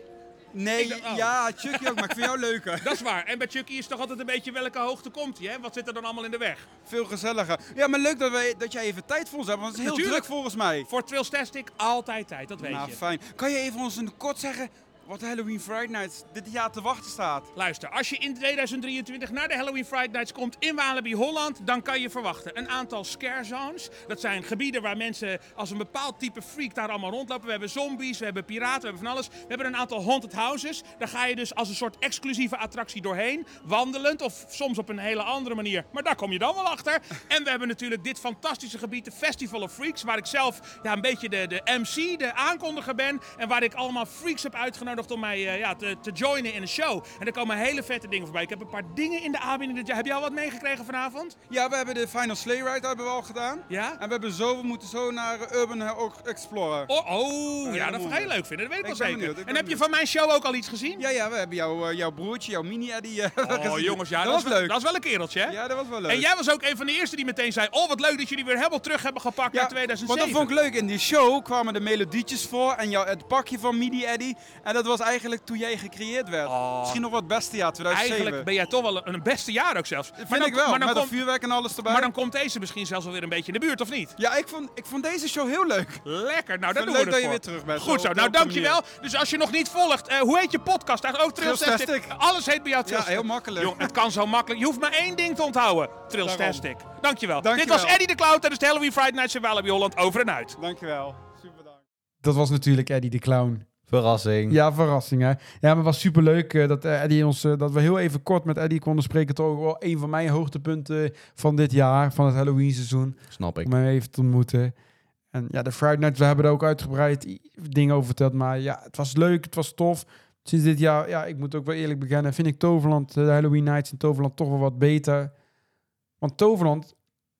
Speaker 3: Nee,
Speaker 9: Ik dacht- oh.
Speaker 3: ja, Chucky ook, maar ik vind jou leuker.
Speaker 9: Dat is waar. En bij Chucky is toch altijd een beetje welke hoogte komt hij, hè? Wat zit er dan allemaal in de weg?
Speaker 3: Veel gezelliger. Ja, maar leuk dat, wij, dat jij even tijd voor ons hebt, want het is heel
Speaker 9: Natuurlijk.
Speaker 3: druk volgens mij.
Speaker 9: Voor Trillstastic altijd tijd, dat weet
Speaker 3: Nou,
Speaker 9: je.
Speaker 3: fijn. Kan je even ons in het kort zeggen wat Halloween Friday Night dit jaar te wachten staat?
Speaker 9: Luister, als je in 2023 naar de Halloween Friday Nights komt in Walibi Holland, dan kan je verwachten een aantal scare zones. Dat zijn gebieden waar mensen als een bepaald type freak daar allemaal rondlopen. We hebben zombies, we hebben piraten, we hebben van alles. We hebben een aantal haunted houses. Daar ga je dus als een soort exclusieve attractie doorheen, wandelend of soms op een hele andere manier. Maar daar kom je dan wel achter. En we hebben natuurlijk dit fantastische gebied, de Festival of Freaks, waar ik zelf ja, een beetje de, de MC, de aankondiger ben. En waar ik allemaal freaks heb uitgenodigd om mij eh, ja, te, te joinen in een show. En er komen hele vette dingen voorbij. Ik heb een paar dingen in de aanbieding dit jaar. Heb jij al wat meegekregen vanavond?
Speaker 3: Ja, we hebben de Final Sleigh Ride hebben we al gedaan.
Speaker 9: Ja?
Speaker 3: En we, hebben zo, we moeten zo naar eh, Urban Hell Explorer.
Speaker 9: Oh, oh ja,
Speaker 3: ja,
Speaker 9: dat
Speaker 3: mooi.
Speaker 9: ga je leuk vinden. Dat weet ik
Speaker 3: Ik
Speaker 9: wel
Speaker 3: ben
Speaker 9: zeker.
Speaker 3: benieuwd, ik
Speaker 9: en
Speaker 3: ben
Speaker 9: heb je
Speaker 3: benieuwd.
Speaker 9: van mijn show ook al iets gezien?
Speaker 3: Ja, ja, we hebben jouw, eh, jouw broertje, jouw mini-Eddie. eh,
Speaker 9: Oh
Speaker 3: gezien.
Speaker 9: jongens, ja,
Speaker 3: dat, was
Speaker 9: wel-
Speaker 3: leuk.
Speaker 9: Dat is wel een kereltje, hè?
Speaker 3: Ja, dat was wel leuk.
Speaker 9: En jij was ook een van de eerste die meteen zei: Oh, wat leuk dat jullie weer helemaal terug hebben gepakt naar 2007.
Speaker 3: Want dat vond ik leuk. In die show kwamen de melodietjes voor en jou, het pakje van Midi Eddy. En dat was eigenlijk toen jij gecreëerd werd.
Speaker 9: Oh.
Speaker 3: Misschien nog wel het beste jaar, 2007.
Speaker 9: Eigenlijk ben jij toch wel een beste jaar ook zelfs.
Speaker 3: Vind
Speaker 9: maar dan,
Speaker 3: ik wel,
Speaker 9: Maar dan,
Speaker 3: met
Speaker 9: komt-
Speaker 3: het vuurwerk en alles erbij.
Speaker 9: maar dan komt deze misschien zelfs alweer een beetje in de buurt, of niet?
Speaker 3: Ja, ik vond, ik vond deze show heel leuk.
Speaker 9: Lekker, nou dat
Speaker 3: Leuk
Speaker 9: doen
Speaker 3: dat
Speaker 9: we
Speaker 3: je
Speaker 9: ervoor.
Speaker 3: weer terug bent,
Speaker 9: Goed
Speaker 3: zo,
Speaker 9: zo,
Speaker 3: op
Speaker 9: nou
Speaker 3: welke manier.
Speaker 9: dankjewel. Dus als je nog niet volgt, eh, hoe heet je podcast eigenlijk? Oh,
Speaker 3: Trillstastic.
Speaker 9: Trillstastic. Alles heet bij jou Trillstastic.
Speaker 3: heel makkelijk.
Speaker 9: Jong, het kan zo makkelijk. Je hoeft maar één ding te onthouden. Trillstastic. Dankjewel. Dit
Speaker 3: Dankjewel.
Speaker 9: was Eddie de Clown tijdens de Halloween Friday Nights in Walibi Holland. Over en uit.
Speaker 3: Dankjewel. Super bedankt.
Speaker 1: Dat was natuurlijk Eddie de Clown.
Speaker 2: Verrassing.
Speaker 1: Ja, verrassing hè. Ja, maar het was superleuk eh, dat, eh, Eddie ons, eh, dat we heel even kort met Eddie konden spreken. Toch ook wel een van mijn hoogtepunten van dit jaar, van het Halloween seizoen.
Speaker 2: Snap ik.
Speaker 1: Om hem even te ontmoeten. En ja, de Friday Night, we hebben er ook uitgebreid i- dingen over verteld. Maar ja, het was leuk, het was tof. Sinds dit jaar, ja, ik moet ook wel eerlijk bekennen, vind ik Toverland, eh, de Halloween Nights in Toverland toch wel wat beter. Want Toverland,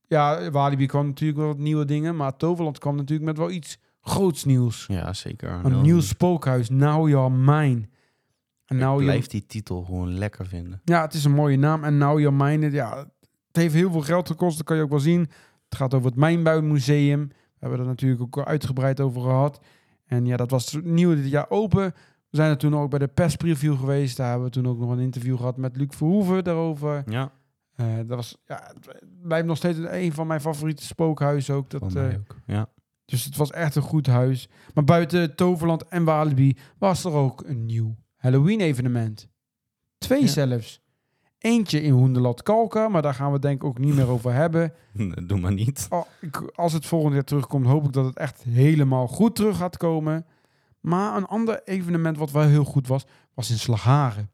Speaker 1: ja, Walibi kwam natuurlijk wel wat nieuwe dingen. Maar Toverland kwam natuurlijk met wel iets groots nieuws.
Speaker 2: Ja, zeker.
Speaker 1: Een nieuw spookhuis, Now You're Mine. En Now You're-
Speaker 2: Blijf die titel gewoon lekker vinden.
Speaker 1: Ja, het is een mooie naam. En Now You're Mine, ja, het heeft heel veel geld gekost. Dat kan je ook wel zien. Het gaat over het Mijnbouwmuseum. We hebben er natuurlijk ook al uitgebreid over gehad. En ja, dat was nieuw dit jaar open. We zijn er toen ook bij de perspreview geweest. Daar hebben we toen ook nog een interview gehad met Luc Verhoeven daarover.
Speaker 2: Ja,
Speaker 1: Eh, dat was, ja, het blijft nog steeds een van mijn favoriete spookhuizen ook. Dat,
Speaker 2: van
Speaker 1: eh,
Speaker 2: mij ook. Ja.
Speaker 1: dus het was echt een goed huis. Maar buiten Toverland en Walibi was er ook een nieuw Halloween-evenement. Twee
Speaker 2: Ja.
Speaker 1: zelfs. Eentje in Hoenderland Kalka, maar daar gaan we het denk ik ook niet meer over hebben.
Speaker 2: Doe maar niet.
Speaker 1: Al- ik- Als het volgend jaar terugkomt, hoop ik dat het echt helemaal goed terug gaat komen. Maar een ander evenement wat wel heel goed was, was in Slagharen.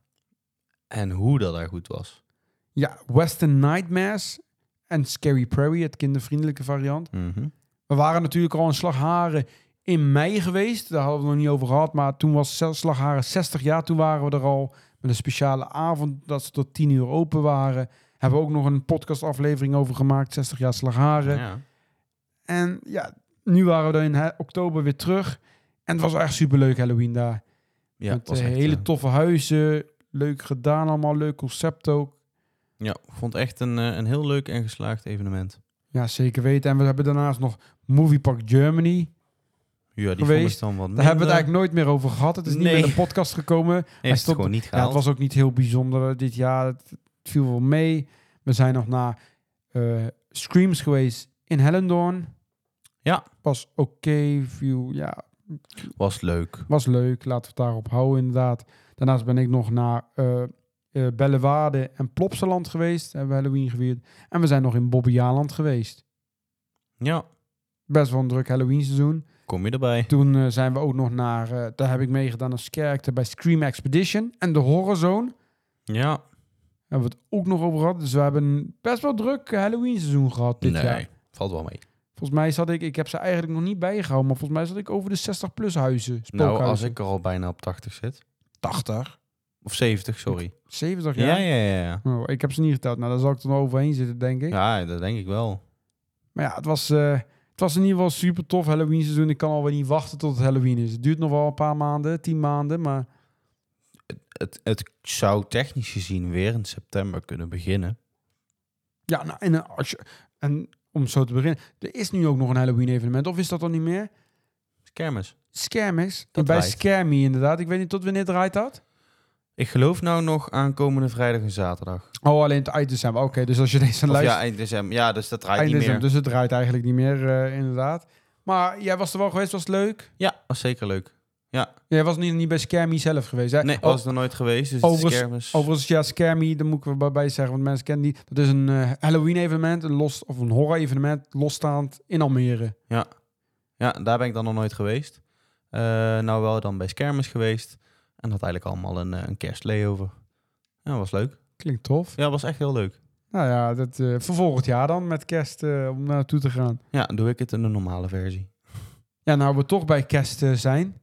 Speaker 2: En hoe dat daar goed was.
Speaker 1: Ja, Western Nightmares en Scary Prairie, het kindervriendelijke variant.
Speaker 2: Mhm.
Speaker 1: We waren natuurlijk al in Slagharen in mei geweest. Daar hadden we het nog niet over gehad. Maar toen was zelfs Slagharen 60 jaar. Toen waren we er al met een speciale avond dat ze tot 10 uur open waren. Hebben we ook nog een podcastaflevering over gemaakt. 60 jaar Slagharen.
Speaker 2: Ja.
Speaker 1: En ja, nu waren we dan in he- oktober weer terug. En het was echt superleuk Halloween daar.
Speaker 2: Ja,
Speaker 1: Met
Speaker 2: was
Speaker 1: eh,
Speaker 2: echt,
Speaker 1: hele
Speaker 2: eh,
Speaker 1: toffe huizen. Leuk gedaan allemaal. Leuk concept ook.
Speaker 2: ja, ik vond echt een, eh, een heel leuk en geslaagd evenement.
Speaker 1: Ja, zeker weten. En we hebben daarnaast nog Movie Park Germany.
Speaker 2: Ja, die vond
Speaker 1: Geweest.
Speaker 2: ik dan wat
Speaker 1: Daar hebben we het
Speaker 2: minder.
Speaker 1: eigenlijk nooit meer over gehad. Het is niet
Speaker 2: Nee.
Speaker 1: meer in de podcast gekomen.
Speaker 2: Heeft het
Speaker 1: stond-
Speaker 2: gewoon niet
Speaker 1: Ja,
Speaker 2: gehaald.
Speaker 1: het was ook niet heel bijzonder eh, dit jaar. Het het viel wel mee. We zijn nog naar eh, Screams geweest in Hellendoorn.
Speaker 2: Ja.
Speaker 1: Was oké. view, ja,
Speaker 2: was leuk.
Speaker 1: was leuk. Laten we het daarop houden inderdaad. Daarnaast ben ik nog naar eh eh, Bellewaarde en Plopsaland geweest. Hebben we Halloween gevierd. En we zijn nog in Bobbejaanland geweest.
Speaker 2: Ja,
Speaker 1: Best wel een druk Halloween seizoen.
Speaker 2: kom je erbij.
Speaker 1: Toen eh, zijn we ook nog naar... eh, daar heb ik meegedaan als character bij Scream Expedition. En de Horror Zone.
Speaker 2: Ja.
Speaker 1: Daar hebben we het ook nog over gehad. Dus we hebben een best wel druk Halloween seizoen gehad dit
Speaker 2: nee,
Speaker 1: jaar.
Speaker 2: valt wel mee.
Speaker 1: Volgens mij zat ik, ik heb ze eigenlijk nog niet bijgehouden, maar volgens mij zat ik over de 60 plus huizen.
Speaker 2: Nou, als
Speaker 1: spookhuizen.
Speaker 2: ik er al bijna op 80 zit.
Speaker 1: 80.
Speaker 2: Of 70, sorry.
Speaker 1: 70
Speaker 2: Ja,
Speaker 1: jaar.
Speaker 2: ja, ja. Ja,
Speaker 1: Oh, ik heb ze niet geteld. Nou, daar zal ik dan overheen zitten, denk ik.
Speaker 2: ja dat denk ik wel.
Speaker 1: Maar ja, het was, eh, het was in ieder geval super tof Halloween seizoen. Ik kan alweer niet wachten tot het Halloween is. Het duurt nog wel een paar maanden, 10 maanden, maar
Speaker 2: Het, het zou technisch gezien weer in september kunnen beginnen.
Speaker 1: ja, nou, en, eh, als je, en om zo te beginnen, er is nu ook nog een Halloween evenement, of is dat dan niet meer?
Speaker 2: Kermis.
Speaker 1: Scammers.
Speaker 2: Dat
Speaker 1: bij
Speaker 2: draait.
Speaker 1: Scammy inderdaad. Ik weet niet tot wanneer draait dat?
Speaker 2: Ik geloof nou nog aankomende vrijdag en zaterdag.
Speaker 1: Oh, alleen het eind december. Oké, dus als je deze
Speaker 2: Of ja,
Speaker 1: luistert,
Speaker 2: eind december. Ja, dus dat draait
Speaker 1: eind
Speaker 2: niet
Speaker 1: december.
Speaker 2: meer.
Speaker 1: Dus het draait eigenlijk niet meer, eh, inderdaad. Maar jij was er wel geweest, was het leuk?
Speaker 2: Ja, was zeker leuk.
Speaker 1: Jij was niet, niet bij Scammy zelf geweest, hè?
Speaker 2: Nee,
Speaker 1: O-
Speaker 2: was er nooit geweest. Dus
Speaker 1: Eh,
Speaker 2: het is
Speaker 1: oh, overigens-
Speaker 2: kermis.
Speaker 1: Overigens, ja, Scammy, daar moet ik wel bij zeggen, want mensen kennen die. Dat is een eh, Halloween-evenement, een los, of een horror-evenement, losstaand in Almere.
Speaker 2: Ja, daar ben ik dan nog nooit geweest. Eh, nou wel dan bij Skermis geweest. En had eigenlijk allemaal een, eh, een kerstlayover. Ja, was leuk.
Speaker 1: Klinkt tof.
Speaker 2: Ja, was echt heel leuk.
Speaker 1: Nou ja, dat, eh, voor volgend jaar dan, met kerst, eh, om naartoe te gaan.
Speaker 2: Ja, doe ik het in de normale versie.
Speaker 1: Ja, nou we toch bij kerst eh, zijn.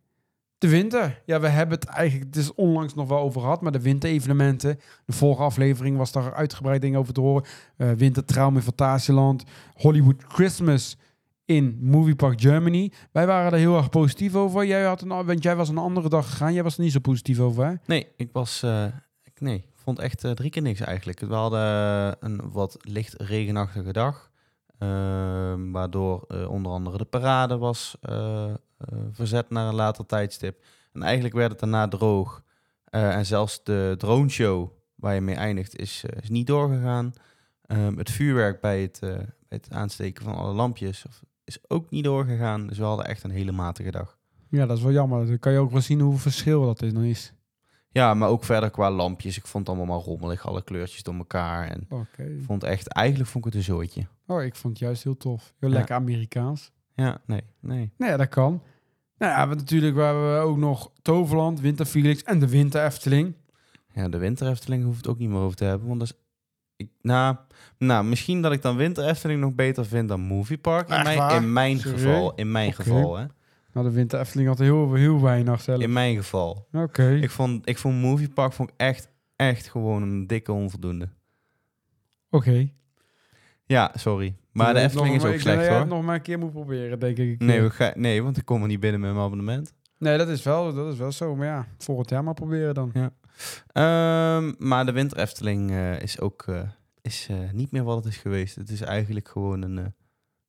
Speaker 1: De winter. Ja, we hebben het eigenlijk, het is onlangs nog wel over gehad, maar de winterevenementen. De vorige aflevering was daar uitgebreid dingen over te horen. Eh Wintertraum in Fantasieland, Hollywood Christmas in Movie Park Germany. Wij waren er heel erg positief over. Jij had een, a- want jij was een andere dag gegaan. Jij was er niet zo positief over, hè?
Speaker 2: Nee, ik was... eh, ik- nee, ik vond echt eh, drie keer niks eigenlijk. We hadden eh, een wat licht regenachtige dag. ehm, waardoor eh, onder andere de parade was eh, eh, verzet naar een later tijdstip. En eigenlijk werd het daarna droog. Eh, en zelfs de drone show waar je mee eindigt is, eh, is niet doorgegaan. Ehm, het vuurwerk bij het, eh, bij het aansteken van alle lampjes of- is ook niet doorgegaan. Dus we hadden echt een hele matige dag.
Speaker 1: Ja, dat is wel jammer. Dan kan je ook wel zien hoe verschil dat is. Dan is.
Speaker 2: Ja, maar ook verder qua lampjes. Ik vond het allemaal maar rommelig, alle kleurtjes door elkaar. En
Speaker 1: Oké.
Speaker 2: ik vond echt, eigenlijk vond ik het een zooitje.
Speaker 1: Oh, ik vond het juist heel tof. Heel
Speaker 2: Ja.
Speaker 1: lekker Amerikaans.
Speaker 2: Ja, nee, nee.
Speaker 1: Nou ja, dat kan. Nou ja, want natuurlijk we hebben we ook nog Toverland, Winter Felix en de Winter Efteling.
Speaker 2: Ja, de winter Efteling hoeft het ook niet meer over te hebben, want dat is... Ik, nou, nou, misschien dat ik dan winter Efteling nog beter vind dan Moviepark. In
Speaker 1: Echt
Speaker 2: mijn,
Speaker 1: waar?
Speaker 2: in mijn
Speaker 1: Serieus?
Speaker 2: geval, in mijn
Speaker 1: Oké.
Speaker 2: geval, hè.
Speaker 1: Nou, de Winter Efteling had heel, heel weinig zelf.
Speaker 2: In mijn geval.
Speaker 1: Oké.
Speaker 2: Ik vond, ik vond Movie Park vond ik echt, echt gewoon een dikke onvoldoende.
Speaker 1: Oké.
Speaker 2: Ja, sorry. Maar de
Speaker 1: Ik
Speaker 2: Efteling
Speaker 1: nog-
Speaker 2: is ook
Speaker 1: ik denk dat
Speaker 2: slecht
Speaker 1: jij
Speaker 2: hoor.
Speaker 1: het nog maar een keer moet proberen, denk ik.
Speaker 2: Nee, we ga, nee, want ik kom er niet binnen met mijn abonnement.
Speaker 1: nee dat, is wel, dat is wel zo. Maar ja, volgend jaar maar proberen dan.
Speaker 2: Ehm, maar de Winter Efteling eh, is ook eh, is, eh, niet meer wat het is geweest. Het is eigenlijk gewoon een eh,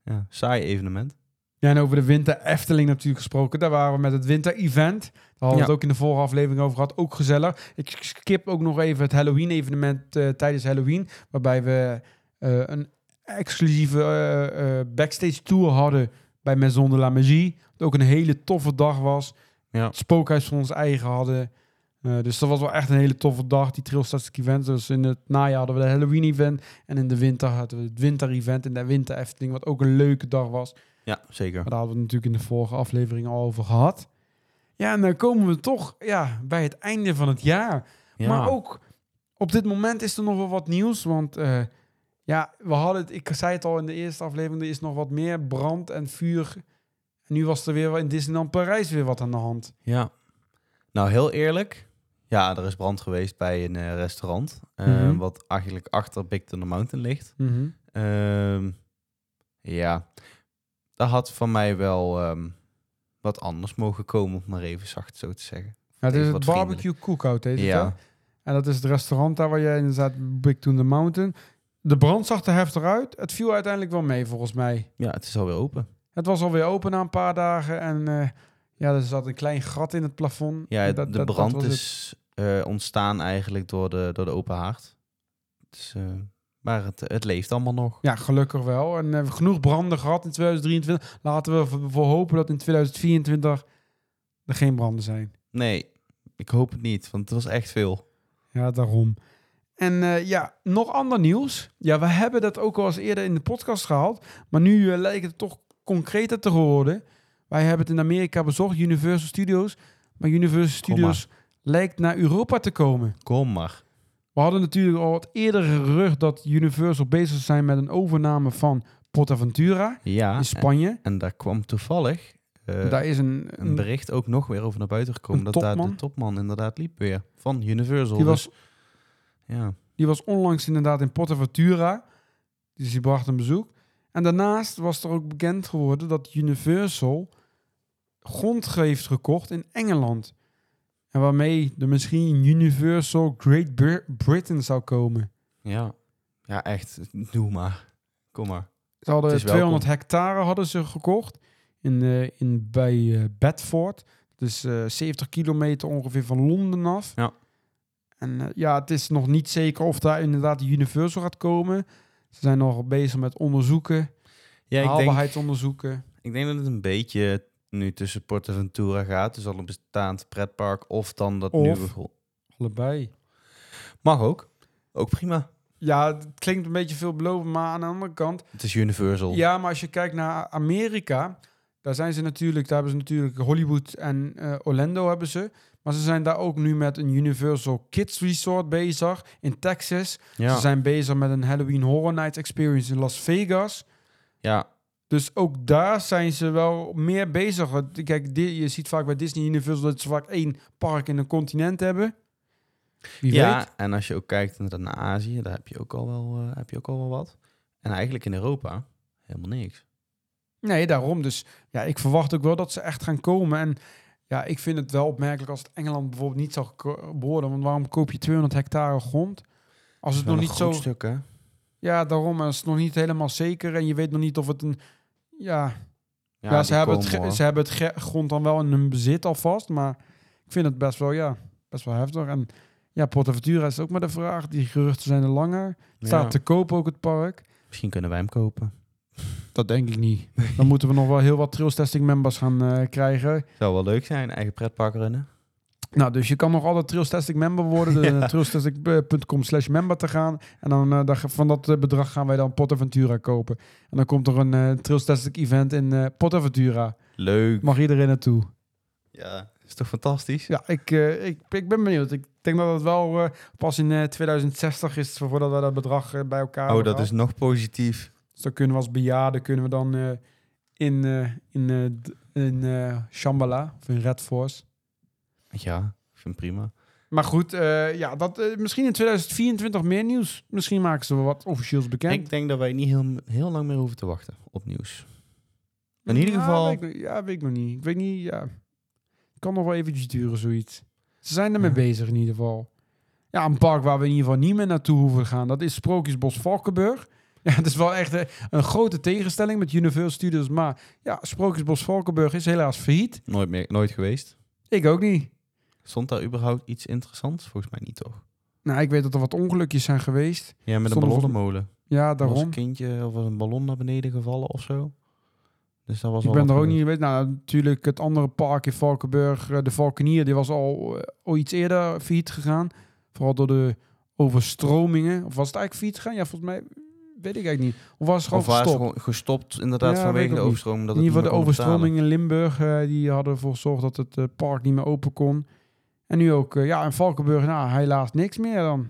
Speaker 2: ja, saai evenement.
Speaker 1: Ja, en over de Winter Efteling natuurlijk gesproken. Daar waren we met het Winter Event. Daar hadden we
Speaker 2: Ja.
Speaker 1: het ook in de vorige aflevering over gehad. Ook gezellig. Ik skip ook nog even het Halloween evenement eh, tijdens Halloween. Waarbij we eh, een exclusieve eh, eh, backstage tour hadden bij Maison de la Magie. Wat ook een hele toffe dag was.
Speaker 2: Ja.
Speaker 1: Het spookhuis van ons eigen hadden. Eh, dus dat was wel echt een hele toffe dag, die Trailstastic Event. Dus in het najaar hadden we de Halloween Event. En in de winter hadden we het Winter Event. En de Winter Efteling, wat ook een leuke dag was.
Speaker 2: Ja, zeker.
Speaker 1: Maar daar hadden we het natuurlijk in de vorige aflevering al over gehad. Ja, en dan komen we toch ja, bij het einde van het jaar.
Speaker 2: Ja.
Speaker 1: Maar ook Op dit moment is er nog wel wat nieuws, want eh, ja, we hadden het, ik zei het al in de eerste aflevering, er is nog wat meer brand en vuur. En nu was er weer wel in Disneyland Parijs weer wat aan de hand.
Speaker 2: Ja. Nou, heel eerlijk. Ja, er is brand geweest bij een eh, restaurant. eh,
Speaker 1: Mhm.
Speaker 2: Wat eigenlijk achter Big Thunder Mountain ligt. Ehm, ja, dat had van mij wel ehm, wat anders mogen komen, om het maar even zacht zo te zeggen.
Speaker 1: Ja, het
Speaker 2: Even
Speaker 1: is
Speaker 2: wat
Speaker 1: het barbecue cookout, heet het, hè?
Speaker 2: Ja,
Speaker 1: En dat is het restaurant daar waar jij in zat, Big Toen the Mountain. De brand zag er heftig uit. Het viel uiteindelijk wel mee, volgens mij.
Speaker 2: ja, het is alweer open.
Speaker 1: Het was alweer open na een paar dagen. En eh, ja, er zat een klein gat in het plafond.
Speaker 2: Ja,
Speaker 1: En dat-
Speaker 2: de
Speaker 1: dat- dat
Speaker 2: brand
Speaker 1: was het.
Speaker 2: is eh, ontstaan eigenlijk door de, door de open haard. Dus, eh, maar het, het leeft allemaal nog.
Speaker 1: Ja, gelukkig wel. En we hebben genoeg branden gehad in 2023. Laten we v- voor hopen dat in 2024 er geen branden zijn.
Speaker 2: Nee, ik hoop het niet, want het was echt veel.
Speaker 1: Ja, daarom. En eh, ja, nog ander nieuws. Ja, we hebben dat ook al eens eerder in de podcast gehaald. Maar nu eh, lijkt het toch concreter te worden. Wij hebben het in Amerika bezocht, Universal Studios. Maar Universal Studios lijkt naar Europa te komen.
Speaker 2: Kom maar.
Speaker 1: We hadden natuurlijk al wat eerder gerucht dat Universal bezig zou zijn met een overname van PortAventura
Speaker 2: Ja,
Speaker 1: in Spanje.
Speaker 2: en daar kwam toevallig eh,
Speaker 1: Daar is een,
Speaker 2: een bericht ook nog weer over naar buiten gekomen.
Speaker 1: een
Speaker 2: Dat daar de
Speaker 1: topman?
Speaker 2: topman inderdaad liep weer. Van Universal.
Speaker 1: die,
Speaker 2: Dus,
Speaker 1: was,
Speaker 2: ja.
Speaker 1: die was onlangs inderdaad in PortAventura. Dus die bracht een bezoek. En daarnaast was er ook bekend geworden dat Universal grond heeft gekocht in Engeland. En waarmee er misschien Universal Great Br- Britain zou komen.
Speaker 2: Ja. ja, echt. Doe maar. Kom maar.
Speaker 1: Ze hadden
Speaker 2: Het is
Speaker 1: 200
Speaker 2: welkom.
Speaker 1: hectare hadden ze gekocht in, eh, in, bij eh, Bedford. Dus eh 70 kilometer ongeveer van Londen af.
Speaker 2: Ja.
Speaker 1: En eh, ja, het is nog niet zeker of daar inderdaad Universal gaat komen. Ze zijn nog bezig met onderzoeken,
Speaker 2: Ja, ik denk,
Speaker 1: haalbaarheidsonderzoeken.
Speaker 2: ik denk dat het een beetje nu tussen Portaventura gaat. Dus al een bestaand pretpark of dan dat
Speaker 1: Of-
Speaker 2: nieuwe. gro-
Speaker 1: Allebei.
Speaker 2: Mag ook. Ook prima.
Speaker 1: Ja, het klinkt een beetje veelbelovend, maar aan de andere kant...
Speaker 2: Het is Universal.
Speaker 1: Ja, maar als je kijkt naar Amerika, daar zijn ze natuurlijk, daar hebben ze natuurlijk Hollywood en eh, Orlando hebben ze. Maar ze zijn daar ook nu met een Universal Kids Resort bezig in Texas. Ze
Speaker 2: ja.
Speaker 1: zijn bezig met een Halloween Horror Nights Experience in Las Vegas.
Speaker 2: ja.
Speaker 1: Dus ook daar zijn ze wel meer bezig. Want Kijk, di- je ziet vaak bij Disney Universal dat ze vaak één park in een continent hebben. Wie
Speaker 2: Ja,
Speaker 1: weet.
Speaker 2: en als je ook kijkt inderdaad naar Azië, daar heb je ook al wel, eh, heb je ook al wel wat. En eigenlijk in Europa helemaal niks.
Speaker 1: Nee, daarom. Dus ja, ik verwacht ook wel dat ze echt gaan komen. En ja, ik vind het wel opmerkelijk als het Engeland bijvoorbeeld niet zou geko- worden. Want waarom koop je 200 hectare grond? Als het
Speaker 2: Wel
Speaker 1: nog
Speaker 2: een
Speaker 1: niet zo...
Speaker 2: groot stuk, hè?
Speaker 1: Ja, daarom. Als het nog niet helemaal zeker en je weet nog niet of het een... Ja, ja, ze,
Speaker 2: die
Speaker 1: hebben het,
Speaker 2: komen,
Speaker 1: ge-
Speaker 2: hoor.
Speaker 1: ze hebben het ge- grond dan wel in hun bezit alvast. Maar ik vind het best wel, ja, best wel heftig. En ja, Portaventura is ook maar de vraag. Die geruchten zijn er langer. Het staat
Speaker 2: Ja.
Speaker 1: te koop ook het park.
Speaker 2: Misschien kunnen wij hem kopen.
Speaker 1: Dat denk ik niet. Dan moeten we nog wel heel wat Trails Testing members gaan eh, krijgen.
Speaker 2: Zou wel leuk zijn, eigen pretpark rennen.
Speaker 1: Nou, dus je kan nog altijd Trailstastic member worden. Dus naar trailstastic.com slash member te gaan. En dan eh, daar- van dat eh, bedrag gaan wij dan Portaventura kopen. En dan komt er een eh Trailstastic event in eh Portaventura.
Speaker 2: Leuk.
Speaker 1: Mag iedereen naartoe.
Speaker 2: Ja, is toch fantastisch?
Speaker 1: Ja, ik, eh, ik, ik ben benieuwd. Ik denk dat het wel eh, pas in eh, 2060 is voordat we dat bedrag eh, bij elkaar
Speaker 2: Oh,
Speaker 1: hebben
Speaker 2: dat is
Speaker 1: gehad.
Speaker 2: nog positief.
Speaker 1: Dus dan kunnen we als bejaarden kunnen we dan eh, in, eh, in, eh, d- in eh, Shambhala of in Red Force.
Speaker 2: Ja, ik vind hem prima.
Speaker 1: Maar goed, eh, ja, dat, eh, misschien in 2024 meer nieuws. Misschien maken ze wel wat officieels bekend.
Speaker 2: Ik denk dat wij niet heel, heel lang meer hoeven te wachten op nieuws. In ieder
Speaker 1: Ja,
Speaker 2: geval-
Speaker 1: weet ik nog- ja, weet ik nog niet. Ik weet niet, ja. Kan nog wel eventjes duren, zoiets. Ze zijn ermee
Speaker 2: Ja.
Speaker 1: bezig in ieder geval. Ja, een park waar we in ieder geval niet meer naartoe hoeven te gaan. Dat is Sprookjesbos Valkenburg. Ja, het is wel echt eh, een grote tegenstelling met Universal Studios. Maar ja, Sprookjesbos Valkenburg is helaas failliet.
Speaker 2: Nooit meer, nooit geweest.
Speaker 1: Ik ook niet.
Speaker 2: Stond daar überhaupt iets interessants? Volgens mij niet, toch?
Speaker 1: Nou, ik weet dat er wat ongelukjes zijn geweest.
Speaker 2: Ja, met
Speaker 1: Stond er
Speaker 2: een
Speaker 1: volgens-
Speaker 2: ballonnenmolen.
Speaker 1: Ja,
Speaker 2: Er was
Speaker 1: daarom.
Speaker 2: een kindje of was een ballon naar beneden gevallen of zo. Dus dat was
Speaker 1: Ik
Speaker 2: al
Speaker 1: ben er
Speaker 2: wat
Speaker 1: ook
Speaker 2: gebeurd.
Speaker 1: niet geweest. Nou, natuurlijk het andere park in Valkenburg, eh, de Valkenier, die was al, eh, al iets eerder failliet gegaan. Vooral door de overstromingen. Of was het eigenlijk failliet gegaan? Ja, volgens mij weet ik eigenlijk niet. Of was het gewoon
Speaker 2: Of waren ze
Speaker 1: gestopt?
Speaker 2: gewoon gestopt, inderdaad,
Speaker 1: Ja, weet ik
Speaker 2: vanwege de
Speaker 1: ook niet.
Speaker 2: overstroming. Dat
Speaker 1: in
Speaker 2: het
Speaker 1: ieder geval de
Speaker 2: niet meer kon betalen.
Speaker 1: overstroming in Limburg, eh, die hadden ervoor gezorgd dat het eh, park niet meer open kon. En nu ook, eh, ja, in Valkenburg, nou, helaas niks meer dan.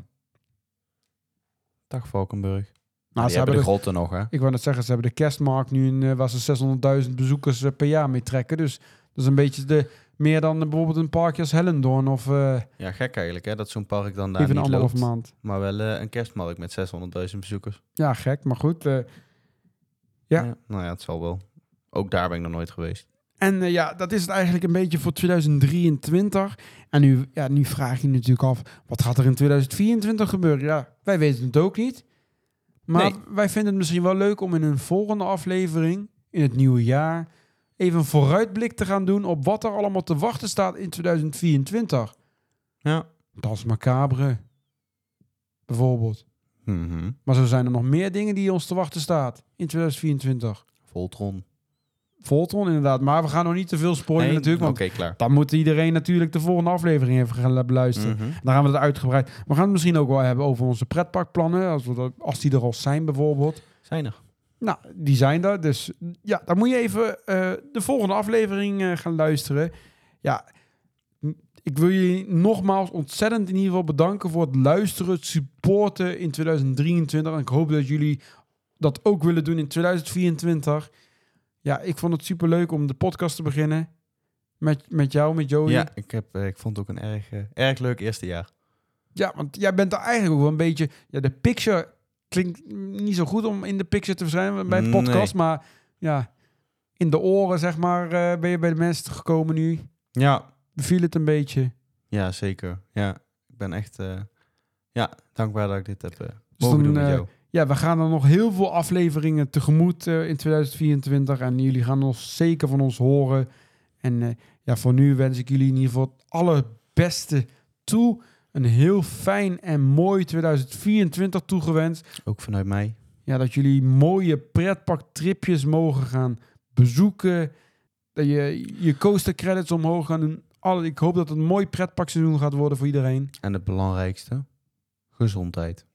Speaker 2: Dag Valkenburg.
Speaker 1: Nou,
Speaker 2: Nou,
Speaker 1: ze
Speaker 2: ze hebben de
Speaker 1: hebben
Speaker 2: grotten nog, hè?
Speaker 1: Ik wou net zeggen, ze hebben de kerstmarkt nu in, eh, waar ze 600.000 bezoekers eh, per jaar mee trekken. Dus dat is een beetje de, meer dan eh, bijvoorbeeld een parkje als Hellendoorn of eh
Speaker 2: Ja, gek eigenlijk, hè? Dat zo'n park dan daar
Speaker 1: even een
Speaker 2: Nou, niet
Speaker 1: anderhalf
Speaker 2: loopt.
Speaker 1: maand.
Speaker 2: Maar wel eh, een kerstmarkt met 600.000 bezoekers.
Speaker 1: Ja, gek, maar goed. eh. Ja.
Speaker 2: Nou ja, het zal wel. Ook daar ben ik nog nooit geweest.
Speaker 1: en eh, ja, dat is het eigenlijk een beetje voor 2023. En nu, ja, nu vraag je je natuurlijk af, wat gaat er in 2024 gebeuren? Ja, wij weten het ook niet. Maar
Speaker 2: Nee.
Speaker 1: wij vinden het misschien wel leuk om in een volgende aflevering, in het nieuwe jaar, even een vooruitblik te gaan doen op wat er allemaal te wachten staat in 2024.
Speaker 2: Ja.
Speaker 1: Dans Macabre. Bijvoorbeeld.
Speaker 2: Mhm.
Speaker 1: Maar zo zijn er nog meer dingen die ons te wachten staat in 2024.
Speaker 2: Voltron.
Speaker 1: Voltron inderdaad, maar we gaan nog niet te veel spoilen
Speaker 2: Nee,
Speaker 1: natuurlijk.
Speaker 2: Oké,
Speaker 1: Want
Speaker 2: klaar.
Speaker 1: dan moet iedereen natuurlijk de volgende aflevering even gaan beluisteren.
Speaker 2: Mhm.
Speaker 1: Dan gaan we het uitgebreid. We gaan het misschien ook wel hebben over onze pretparkplannen. Als, we dat, als die er al zijn bijvoorbeeld.
Speaker 2: Zijn er.
Speaker 1: Nou, die zijn er. Dus ja, dan moet je even eh, de volgende aflevering eh, gaan luisteren. Ja, m- ik wil jullie nogmaals ontzettend in ieder geval bedanken voor het luisteren, het supporten in 2023. En ik hoop dat jullie dat ook willen doen in 2024. Ja, ik vond het superleuk om de podcast te beginnen. Met, met jou, met Joey.
Speaker 2: Ja, ik, heb, eh, ik vond het ook een erg, eh, erg leuk eerste jaar.
Speaker 1: Ja, want jij bent er eigenlijk ook wel een beetje... Ja, de picture klinkt niet zo goed om in de picture te verschijnen bij de podcast. Maar ja, in de oren, zeg maar, eh, ben je bij de mensen gekomen nu.
Speaker 2: Ja.
Speaker 1: Beviel het een beetje.
Speaker 2: Ja, zeker. Ja. Ik ben echt eh, ja, dankbaar dat ik dit heb eh mogen
Speaker 1: dan,
Speaker 2: doen met
Speaker 1: eh,
Speaker 2: jou.
Speaker 1: Ja, we gaan er nog heel veel afleveringen tegemoet eh, in 2024. En jullie gaan ons zeker van ons horen. En eh, ja, voor nu wens ik jullie in ieder geval het allerbeste toe. Een heel fijn en mooi 2024 toegewenst.
Speaker 2: Ook vanuit mij.
Speaker 1: Ja, dat jullie mooie pretparktripjes mogen gaan bezoeken. Dat je je coaster credits omhoog gaan doen. Alle, ik hoop dat het een mooi pretparkseizoen gaat worden voor iedereen.
Speaker 2: En het belangrijkste, gezondheid.
Speaker 1: Oh.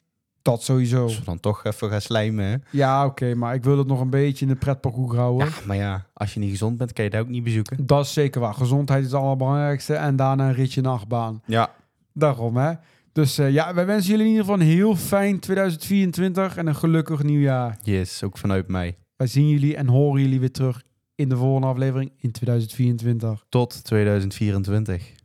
Speaker 1: Dat sowieso.
Speaker 2: Als we dan toch even gaan slijmen, hè?
Speaker 1: Ja, oké, maar ik wil dat nog een beetje in de pretparkhoek houden.
Speaker 2: Ja, maar ja, als je niet gezond bent, kan je dat ook niet bezoeken.
Speaker 1: Dat is zeker waar. Gezondheid is het allerbelangrijkste. En daarna een ritje nachtbaan.
Speaker 2: Ja.
Speaker 1: Daarom, hè. Dus eh, ja, wij wensen jullie in ieder geval een heel fijn 2024 en een gelukkig nieuwjaar.
Speaker 2: Yes, ook vanuit mij.
Speaker 1: Wij zien jullie en horen jullie weer terug in de volgende aflevering in 2024.
Speaker 2: Tot 2024.